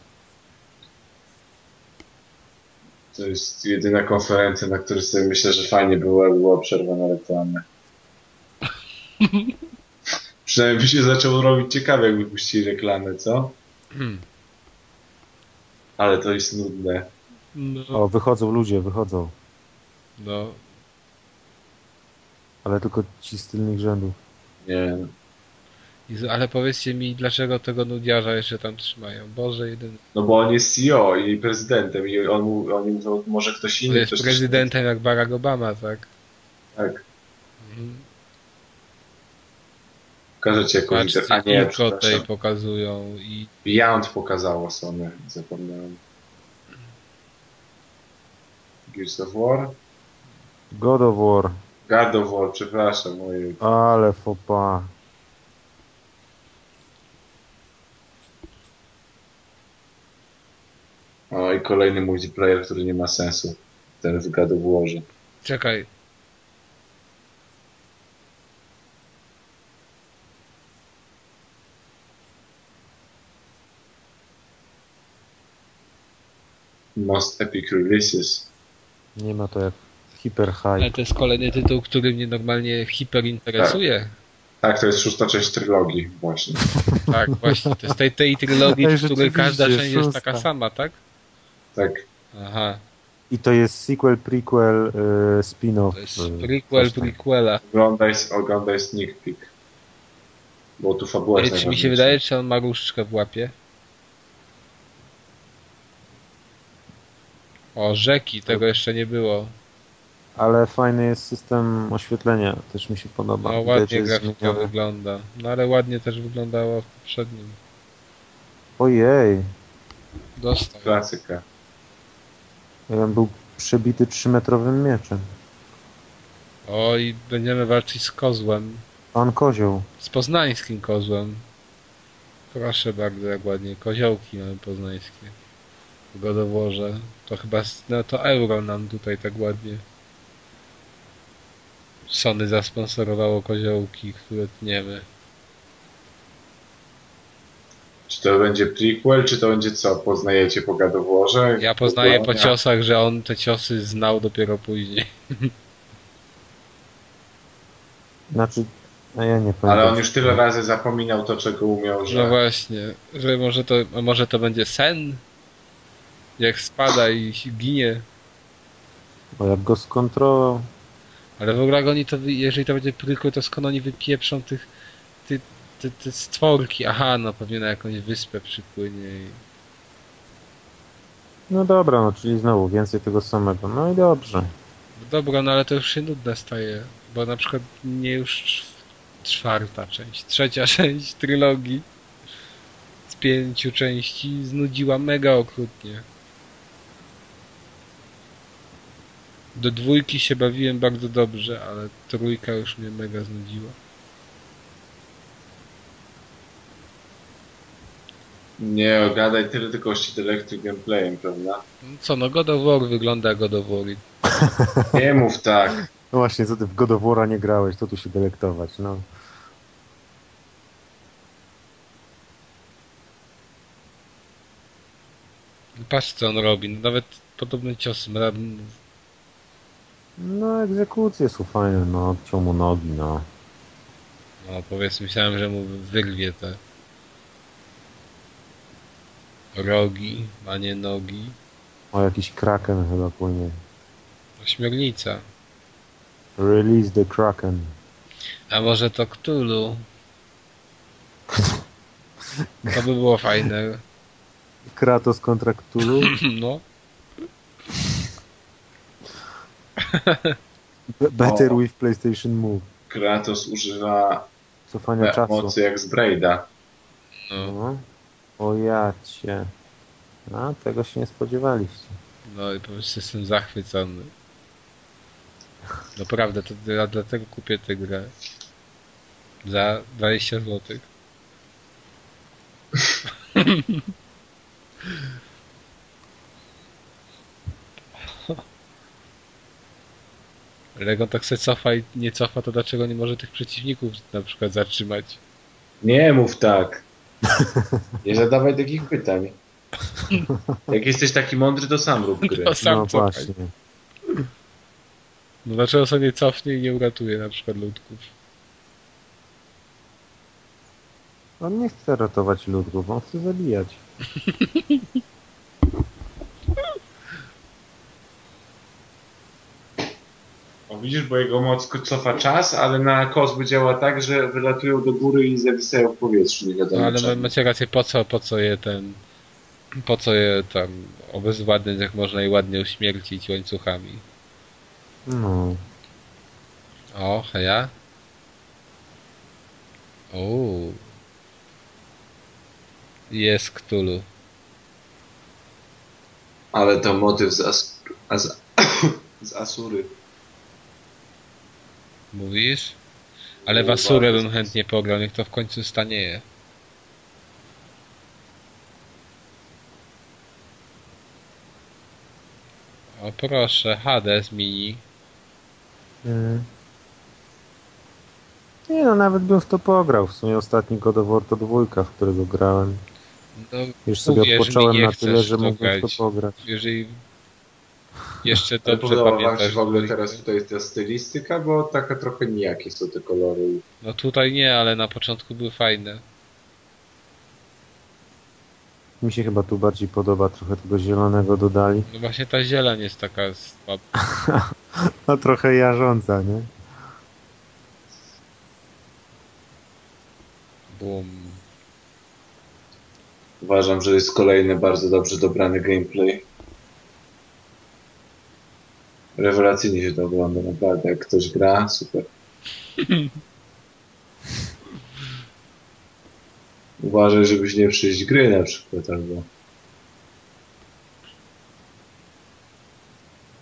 S3: To jest jedyna konferencja, na której sobie myślę, że fajnie była, była przerwa na
S1: *laughs*
S3: reklamę. Przynajmniej by się zaczęło robić ciekawe, jakby puścili reklamę, co? Ale to jest nudne.
S1: *clears throat* No.
S2: O, wychodzą ludzie, wychodzą.
S1: no.
S2: Ale tylko ci z tylnych rzędów.
S3: Nie.
S1: Jezu, ale powiedzcie mi, dlaczego tego nudziarza jeszcze tam trzymają? Boże, jeden.
S3: No bo on jest CEO i prezydentem i on, mu- oni mówią, może ktoś
S1: To
S3: inny.
S1: jest
S3: ktoś
S1: prezydentem jak Barack Obama, tak?
S3: Tak.
S1: Mhm.
S3: Pokażę ci jakąś...
S1: Patrzcie,
S3: inter- A nie,
S1: Znaczy, tylko tej
S3: przepraszam.
S1: pokazują i
S3: Beyond pokazało Sony, zapomniałem. Gears of War?
S2: God of War,
S3: God of War, przepraszam, ojej.
S2: ale fopa.
S3: O, i kolejny multiplayer, który nie ma sensu. Ten w God of Warze.
S1: Czekaj.
S3: Most Epic Releases.
S2: Nie ma to jak hiper
S1: Ale
S2: high.
S1: to jest kolejny tytuł, który mnie normalnie hiperinteresuje.
S3: Tak, to jest szósta część trylogii właśnie.
S1: Tak, właśnie. To jest tej, tej
S2: *laughs*
S1: trylogii,
S2: Ej,
S1: w której każda
S2: rzeczywiście,
S1: część jest
S2: szósta.
S1: taka sama, tak?
S3: Tak,
S1: Aha.
S2: I to jest sequel, prequel, y, spin-off.
S1: To jest
S2: y,
S1: prequel
S2: coś tam.
S1: prequela.
S3: oglądaj, oglądaj sneak peek. Bo tu fabuła
S1: Ale czy
S3: jest
S1: mi
S3: najważniejsza.
S1: się wydaje, czy on ma różdżkę w łapie? O, rzeki,
S2: Tak.
S1: tego jeszcze nie było.
S2: Ale fajny jest system oświetlenia, też mi się podoba.
S1: No
S2: Widać, że
S1: ładnie
S2: jest
S1: grafika
S2: zmieniony.
S1: wygląda. No ale ładnie też wyglądało w poprzednim.
S2: Ojej,
S1: Dostał.
S3: Klasyka.
S2: on był przebity 3-metrowym mieczem.
S1: O, i będziemy walczyć z kozłem.
S2: Pan Kozioł.
S1: Z poznańskim kozłem. Proszę bardzo, jak ładnie. Koziołki mamy poznańskie. W Godoworze. To chyba, s- no to euro nam tutaj tak ładnie. Sony zasponsorowało koziołki, które tniemy.
S3: Czy to będzie prequel, czy to będzie co? Poznajecie po God of Warze?
S1: Ja poznaję po
S3: Dokładnie.
S1: ciosach, że on te ciosy znał dopiero później.
S2: Znaczy, a ja nie pamiętam.
S3: Ale on już tyle razy zapominał to, czego umiał,
S1: No
S3: że...
S1: właśnie, że może to, a może to będzie sen? Jak spada i ginie.
S2: Bo jak go skontrolował,
S1: Ale w ogóle jak oni to, wy- jeżeli to będzie prequel, to skąd oni wypieprzą tych, ty, ty, ty stworki? Aha, no pewnie na jakąś wyspę przypłynie i...
S2: no dobra, no czyli znowu więcej tego samego. No i dobrze.
S1: No Dobra, no ale to już się nudne staje, bo na przykład nie już cz- czwarta część, trzecia *laughs* część trylogii z pięciu części znudziła mega okrutnie. Do dwójki się bawiłem bardzo dobrze, ale trójka już mnie mega znudziła.
S3: Nie, gadaj tyle tylko o Street Electric gameplayem, prawda?
S1: Co, no God of War wygląda jak God of War. i
S3: Nie mów tak.
S2: No właśnie, co ty w God of War'a nie grałeś, to tu się delektować, no.
S1: Patrz co on robi, no nawet podobnym ciosem. ra-
S2: No, egzekucje są fajne, no, odciął mu nogi, no.
S1: No powiedzmy, myślałem, że mu wyrwie te rogi, a nie nogi.
S2: O, jakiś kraken chyba płynie.
S1: No, Ośmiornica.
S2: Release the kraken.
S1: A może to Cthulhu? To by było fajne.
S2: Kratos kontra Cthulhu.
S1: *clears throat* No.
S2: B- Better
S1: No.
S3: O.
S2: with PlayStation Move.
S3: Kratos używa
S2: Cofania czasu.
S3: mocy jak z Braida.
S1: no.
S2: No. O ja cię. A, tego się nie spodziewaliście.
S1: No i po prostu jestem zachwycony. Naprawdę, to dla, dlatego kupię tę grę. Za 20 *laughs* zł. Legon tak se cofa i nie cofa, to dlaczego nie może tych przeciwników na przykład zatrzymać?
S3: Nie mów tak. Nie zadawaj takich pytań. Jak jesteś taki mądry, to sam rób gry.
S1: No *laughs* sam
S2: no
S1: cofaj.
S2: właśnie.
S1: No dlaczego sobie nie cofnie i nie uratuje na przykład ludków?
S2: On nie chce ratować ludków, on chce zabijać.
S3: O, widzisz, bo jego moc cofa czas, ale na kozby działa tak, że wylatują do góry i zawisają w powietrzu. Nie
S1: No
S3: wiadomo
S1: ale ma-
S3: czemu.
S1: macie rację, po co, po co je ten, po co je tam obezwładniać, jak można je ładnie uśmiercić łańcuchami.
S2: No.
S1: O, heja. Uuu. Jest Ktulu.
S3: Ale to motyw z, As- a z, *coughs* z Asury.
S1: Mówisz? Ale w
S3: Kurwa,
S1: Asurę
S3: to
S1: bym
S3: jest-
S1: chętnie pograł, niech to w końcu stanieje. O proszę, Hades mini.
S2: Mm. Nie no, nawet bym w to pograł. W sumie ostatni God of War to dwójka, w którego grałem.
S1: No,
S2: Już sobie
S1: Uwierz mi,
S2: odpocząłem
S1: nie
S2: na tyle,
S1: chcesz
S2: że
S1: w to
S2: mógłbym w to
S1: grać.
S2: pograć.
S1: jeżeli jeszcze
S3: Ale
S1: dobrze
S3: podoba wam się
S1: pamiętasz.
S3: w ogóle
S1: dwójkę.
S3: teraz tutaj ta stylistyka, bo taka trochę nijakie są te kolory.
S1: No tutaj nie, ale na początku były fajne.
S2: Mi się chyba tu bardziej podoba, trochę tego zielonego dodali.
S1: No właśnie ta zieleń jest taka słaba.
S2: A No trochę jarząca, nie? *laughs*
S1: Bum.
S3: Uważam, że jest kolejny bardzo dobrze dobrany gameplay. Rewelacyjnie się to ogląda, naprawdę. Jak ktoś gra, super. Uważaj, żebyś nie przyjść gry na przykład, albo...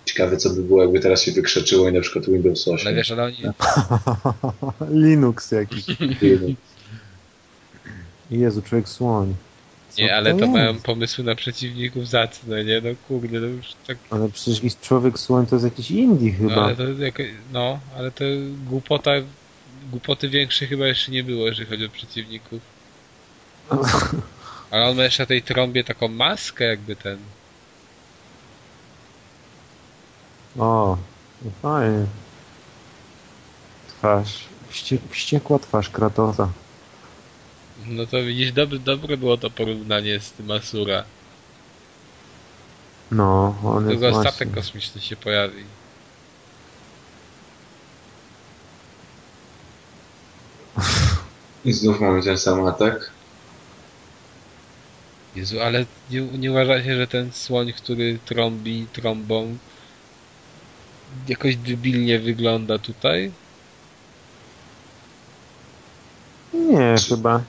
S3: Ciekawe, co by było, jakby teraz się wykrzeczyło i na przykład Windows 8.
S1: Ale wiesz, ale oni,
S2: Linux jakiś.
S3: Windows.
S2: Jezu, człowiek słoń. Co
S1: nie, ale to mają
S2: jest?
S1: pomysły na przeciwników zacne, nie? No kurde, no już tak.
S2: Ale przecież jakiś człowiek słoń to jest jakiś indie chyba.
S1: No ale to, jak, no, ale to głupota, głupoty większej chyba jeszcze nie było, jeżeli chodzi o przeciwników. Ale on ma jeszcze na tej trąbie taką maskę jakby ten.
S2: O, no fajnie. Twarz. Wście, wściekła twarz Kratosa.
S1: No to widzisz, dobre, dobre było to porównanie z tym Asura.
S2: No, on jest
S1: Tylko
S2: właśnie.
S1: statek kosmiczny się pojawi.
S3: I znów mamy ten sam atak.
S1: Jezu, ale nie, nie uważacie, że ten słoń, który trąbi trąbą jakoś debilnie wygląda tutaj?
S2: Nie, chyba.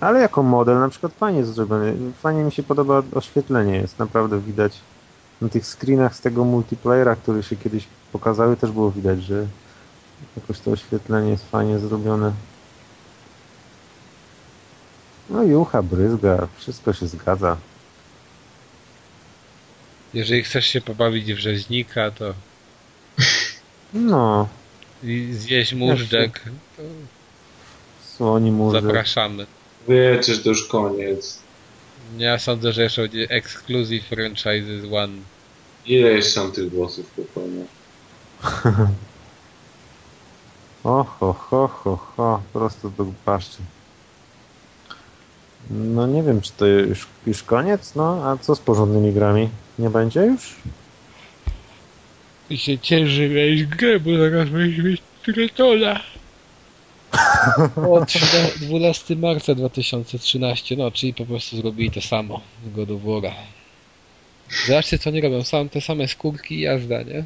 S2: Ale jako model na przykład fajnie jest zrobiony. Fajnie mi się podoba oświetlenie, jest naprawdę widać. Na tych screenach z tego multiplayera, który się kiedyś pokazały, też było widać, że jakoś to oświetlenie jest fajnie zrobione. No i ucha bryzga, wszystko się zgadza.
S1: Jeżeli chcesz się pobawić w rzeźnika, to
S2: No,
S1: i zjeść móżdżek, to
S2: słoni murzy.
S1: zapraszamy.
S3: Wiecie, że to już koniec.
S1: Ja sądzę, że jeszcze będzie Exclusive Franchises One.
S3: Ile jeszcze mam tych głosów popełnia?
S2: O, ho, ho, ho, ho, prosto do paszczy. No nie wiem, czy to już, już koniec, no a co z porządnymi grami? Nie będzie już?
S1: I się cieszy mieć grę, bo zaraz będziesz mieć Tretona. O, 13 12 marca 2013, no, czyli po prostu zrobili to samo z God of War'a. Zobaczcie, co oni robią. Sam, te same skórki i jazda, nie?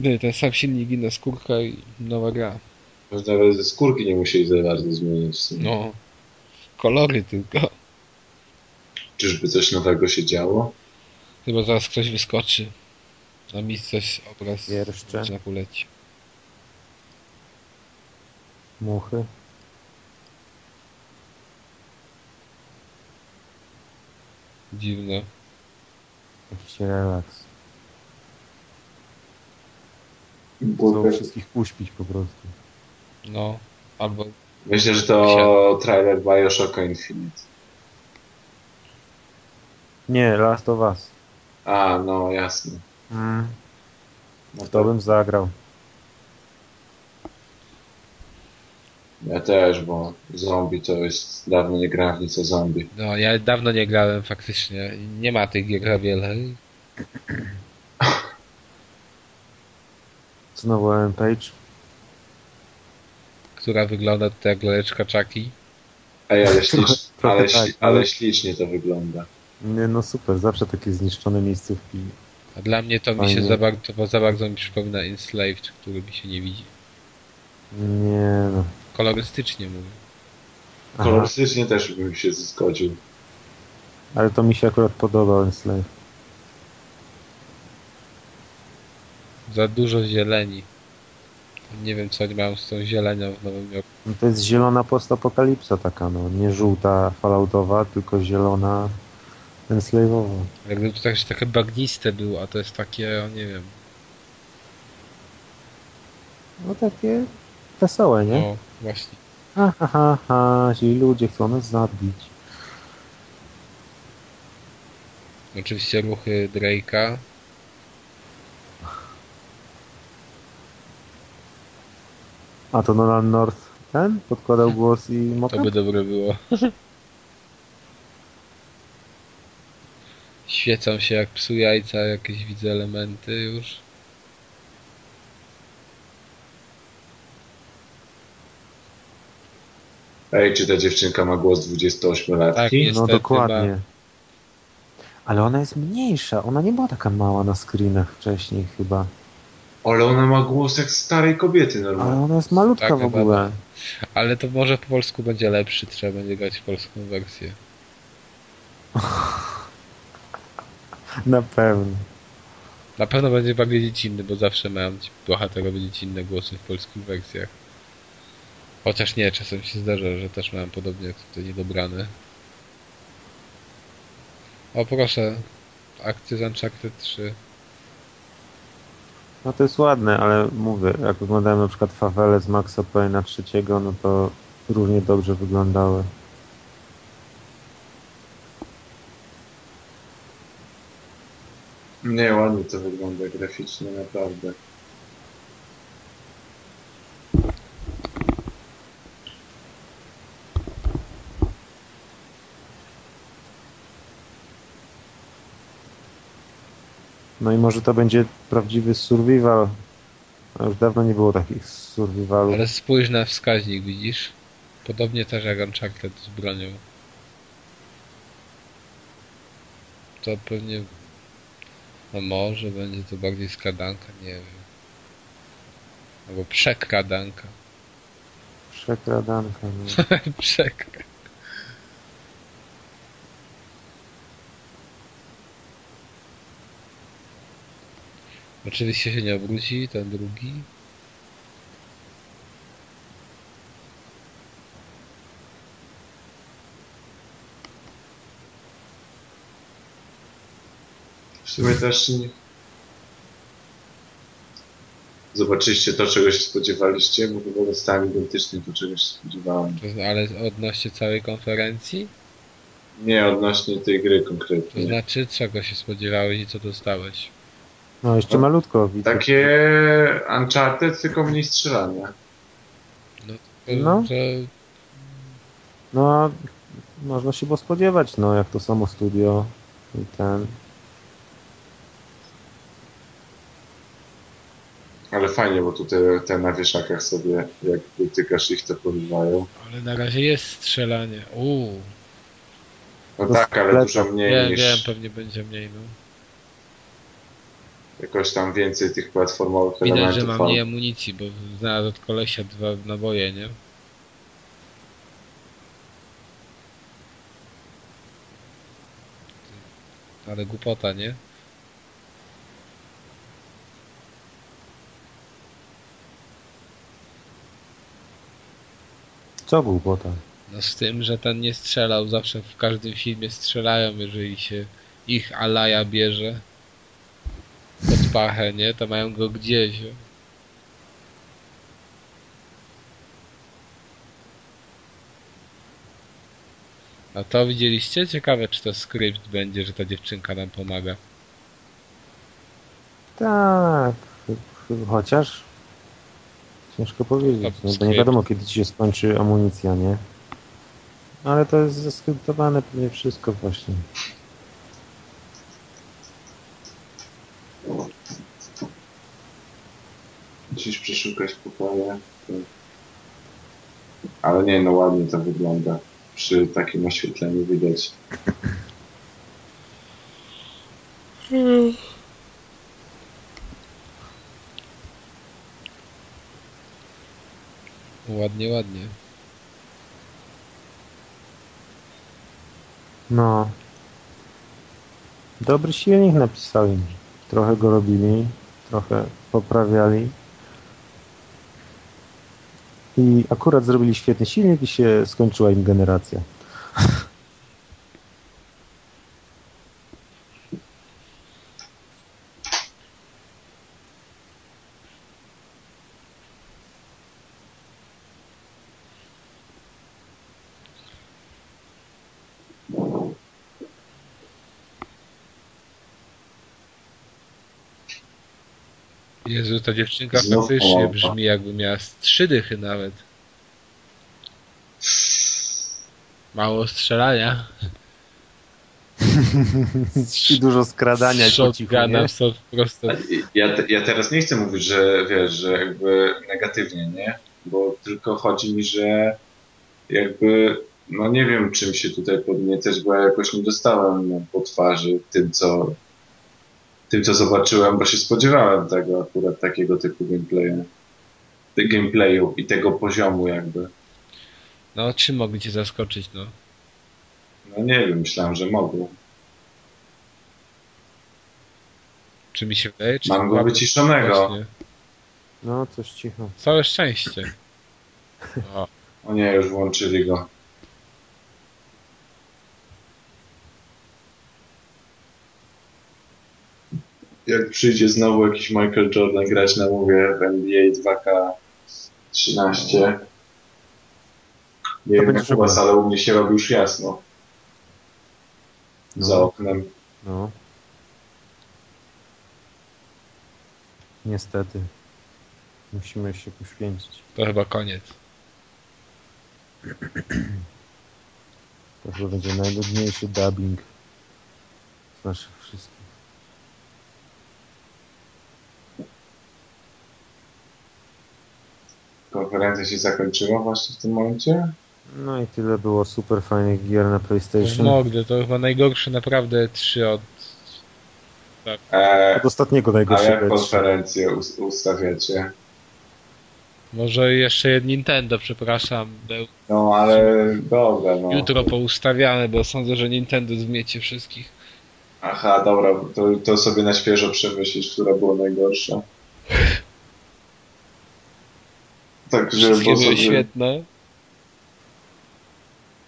S1: Nie, Ten sam silnik, inna skórka i nowa gra.
S3: Może nawet ze skórki nie musieli za bardzo zmienić. w sumie.
S1: No, kolory tylko.
S3: Czyżby coś nowego się działo?
S1: Chyba zaraz ktoś wyskoczy. Na mi coś obraz
S2: Jeszcze.
S1: na poleci.
S2: Muchy.
S1: Dziwne.
S2: Jakiś relaks.
S3: Bo
S2: Chcą wszystkich uśpić po prostu.
S1: No, albo
S3: myślę, że to trailer Bioshocka Infinite.
S2: Nie, Last of Us.
S3: A, no jasne.
S2: Mm.
S3: No
S2: To bym zagrał.
S3: Ja też, bo zombie to jest... Dawno nie grałem w nic o zombie.
S1: No, ja dawno nie grałem faktycznie. Nie ma tych gier za wiele.
S2: Znowu Ellen Page.
S1: Która wygląda tutaj jak laleczka Chucky.
S3: Ej, ale, ślicz...
S2: Trochę- *laughs* trochę
S3: ale,
S2: tak,
S3: śli...
S2: ale-
S3: ale ślicznie to wygląda.
S2: Nie, no super, zawsze takie zniszczone miejscówki.
S1: A dla mnie to mi
S2: Fajnie.
S1: się za bardzo, bo za bardzo mi przypomina Enslaved, który mi się nie widzi.
S2: Nie no.
S1: Kolorystycznie mówię.
S2: Aha,
S3: Kolorystycznie też bym się zgodził.
S2: ale to mi się akurat podoba Enslave.
S1: Za dużo zieleni. Nie wiem, co oni mają z tą zielenią w Nowym Jorku.
S2: No to jest zielona postapokalipsa taka, no. Nie żółta falloutowa, tylko zielona enslave'owa.
S1: Jakby to też takie bagniste było, a to jest takie, o nie wiem.
S2: No takie wesołe, nie?
S1: No, właśnie.
S2: Ha, ha, ha, ha, ci ludzie chcą nas zabić.
S1: Oczywiście ruchy Drake'a.
S2: A to Nolan North ten podkładał głos i
S1: To
S2: mokał?
S1: by dobre było. Świecą się jak psu jajca, jakieś widzę elementy już.
S3: Ej, czy ta dziewczynka ma głos 28-latki?
S1: Tak, jest.
S2: No
S1: Niestety,
S2: dokładnie. Ale ona jest mniejsza, ona nie była taka mała na screenach wcześniej chyba.
S3: Ale ona ma głos jak starej kobiety
S2: Ale
S3: normalnie.
S2: ona jest malutka
S1: Tak,
S2: w ogóle.
S1: Ale to może po polsku będzie lepszy, trzeba będzie grać w polską wersję. tak.
S2: Na pewno.
S1: Na pewno będzie bardziej dziecinny, bo zawsze miałem ci- bohaterowie dziecinne głosy w polskich wersjach. Chociaż nie, czasem się zdarza, że też miałem podobnie jak tutaj niedobrany. O proszę, akcje z Uncharted 3.
S2: No to jest ładne, ale mówię, jak oglądałem na przykład fawele z Maxa Payna trzeciego, no to równie dobrze wyglądały.
S3: Nie, ładnie to wygląda graficznie, naprawdę.
S2: No i może to będzie prawdziwy survival. A Już dawno nie było takich survivalów.
S1: Ale spójrz na wskaźnik, widzisz? Podobnie też jak Uncharted z bronią. To pewnie... No może będzie to bardziej skradanka, nie wiem. Albo przekradanka. *laughs*
S2: Przekradanka. No.
S1: Przekra... Oczywiście się nie obróci, ten drugi.
S3: sumie też nie... Zobaczyliście to, czego się spodziewaliście, bo chyba dostałem identycznie to, czego się spodziewałem.
S1: To- Ale odnośnie całej konferencji?
S3: Nie odnośnie tej gry
S1: To
S3: konkretnie.
S1: znaczy, czego się spodziewałeś i co dostałeś?
S2: No jeszcze malutko widzę.
S3: Takie Uncharted, tylko mniej strzelania.
S2: No.
S1: Że
S2: No, można się było spodziewać, no, jak to samo studio i ten.
S3: Ale fajnie, bo tu te, te na wieszakach sobie, jak dotykasz ich, to porywają.
S1: Ale na razie jest strzelanie. Uuu,
S3: No
S2: To
S3: tak, ale
S2: sklepy.
S3: dużo mniej
S1: wiem,
S3: niż
S1: wiem, pewnie będzie mniej. No.
S3: jakoś tam więcej tych platformowych
S1: Widać, że
S3: elementów.
S1: mam
S3: ale-
S1: mniej amunicji, bo znalazł od kolesia dwa naboje, nie? Ale głupota, nie?
S2: Co był potem?
S1: No z tym, że ten nie strzelał, zawsze w każdym filmie strzelają, jeżeli się ich alaja bierze pod pachę, nie? To mają go gdzieś. A to widzieliście? Ciekawe, czy to skrypt będzie, że ta dziewczynka nam pomaga.
S2: Tak, ch- chociaż ciężko powiedzieć,
S1: To
S2: no, bo nie
S1: skrypt.
S2: wiadomo kiedy ci się skończy amunicja, nie? Ale to jest zaskryptowane pewnie wszystko właśnie.
S3: Musisz przeszukać pokoje. tak. Ale nie, no ładnie to wygląda. Przy takim oświetleniu widać.
S1: Ładnie, ładnie.
S2: No. Dobry silnik napisali. Trochę go robili, trochę poprawiali. I akurat zrobili świetny silnik i się skończyła im generacja.
S1: Jezu, ta dziewczynka
S3: Znów
S1: faktycznie
S3: połapa.
S1: brzmi jakby miała z trzy dychy nawet. Mało strzelania.
S2: I dużo skradania i po cichu, nie?
S1: Shotgunem są prosto.
S3: Ja, te- ja teraz nie chcę mówić, że wiesz, że jakby negatywnie, nie? Bo tylko chodzi mi, że jakby, no nie wiem czym się tutaj podniecać, bo ja jakoś nie dostałem no, po twarzy tym, co tym, co zobaczyłem, bo się spodziewałem tego akurat takiego typu gameplayu, Ty- gameplayu i tego poziomu jakby.
S1: No, czym mogli cię zaskoczyć, no?
S3: No nie wiem, myślałem, że mogą.
S1: Czy mi się wydaje? Czy
S3: Mam go
S1: byłaby-
S3: wyciszonego.
S1: Właśnie.
S2: No, coś cicho.
S1: Całe szczęście. O,
S3: O nie, już włączyli go. Jak przyjdzie znowu jakiś Michael Jordan grać na mówię w NBA 2K13. Nie
S2: To
S3: wiem
S2: będzie
S3: jak u was,
S2: problem.
S3: ale u mnie się robi już jasno. Za
S2: No.
S3: oknem.
S2: No. Niestety. Musimy się poświęcić.
S1: to chyba koniec.
S2: To chyba będzie najludniejszy dubbing z naszych wszystkich.
S3: Konferencja się zakończyła właśnie w tym momencie.
S2: No i tyle było super fajnych gier na PlayStation.
S1: Mogę, to chyba najgorsze naprawdę trzy od.
S3: E,
S2: Od ostatniego
S3: a jak
S2: najgorszego.
S3: konferencję us- ustawiacie?
S1: Może jeszcze jed- Nintendo, przepraszam. był-
S3: No ale dobra, no.
S1: Jutro poustawiamy, bo sądzę, że Nintendo zmiecie wszystkich.
S3: Aha, dobra, to, to sobie na świeżo przemyślisz, która była najgorsza. Także
S1: Wszystkie
S3: Tak, bo
S1: były
S3: sobie...
S1: świetne,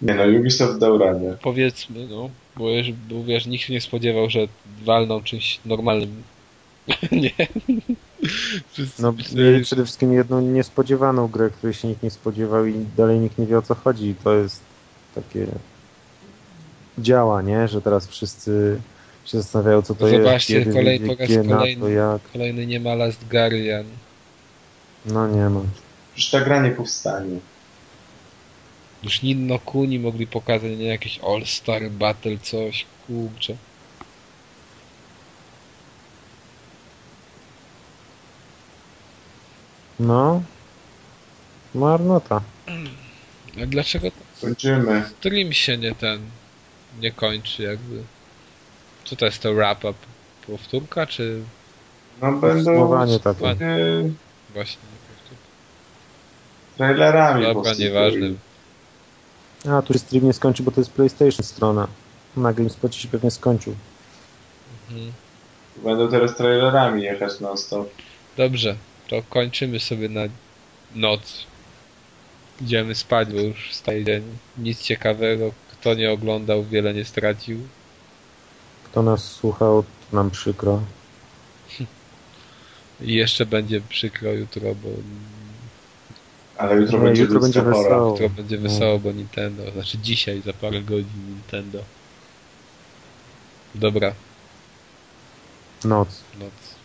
S3: Nie no, Ubisoft dał radę.
S1: powiedzmy, no. Bo, już, bo wiesz, nikt się nie spodziewał, że walną czymś normalnym. *laughs* nie. Wszyscy
S2: No,
S1: myśleli,
S2: mieli przede wszystkim jedną niespodziewaną grę, której się nikt nie spodziewał i dalej nikt nie wie o co chodzi. To jest takie działa, nie? Że teraz wszyscy się zastanawiają, co to jest.
S1: Zobaczcie,
S2: kiedy
S1: kolej-
S2: wyjdzie
S1: po raz
S2: gier na To
S1: No kolejny.
S2: jak?
S1: Kolejny nie ma Last Guardian.
S2: No nie ma.
S3: Przecież ta gra nie powstanie.
S1: Już Ninno Kuni mogli pokazać nie, jakiś All Star Battle, coś, kurczę.
S2: No. Marnota.
S1: A dlaczego
S3: Kończymy.
S1: stream się nie ten, nie kończy jakby? Co to jest to wrap-up? Powtórka czy
S3: No będą
S2: Podsumowanie takie.
S1: Ładnie.
S3: e,
S1: właśnie nie powtórka?
S3: trailerami po
S1: Dobra,
S3: prostu.
S1: nieważne.
S2: A, tu się stream nie skończy, bo to jest PlayStation strona. Na GameSpocie się pewnie skończył.
S1: Mhm.
S3: Będą teraz trailerami jechać non stop.
S1: Dobrze, to kończymy sobie na noc. Idziemy spać, bo już staje dzień. Nic ciekawego, kto nie oglądał, wiele nie stracił.
S2: Kto nas słuchał, to nam przykro.
S1: I jeszcze będzie przykro jutro, bo
S3: Ale jutro
S2: Nie,
S3: będzie
S2: No jutro będzie
S3: ludzka pora.
S2: wesoło.
S1: jutro będzie wesoło, bo Nintendo. Znaczy dzisiaj, za parę godzin Nintendo. Dobra,
S2: Noc.
S1: noc.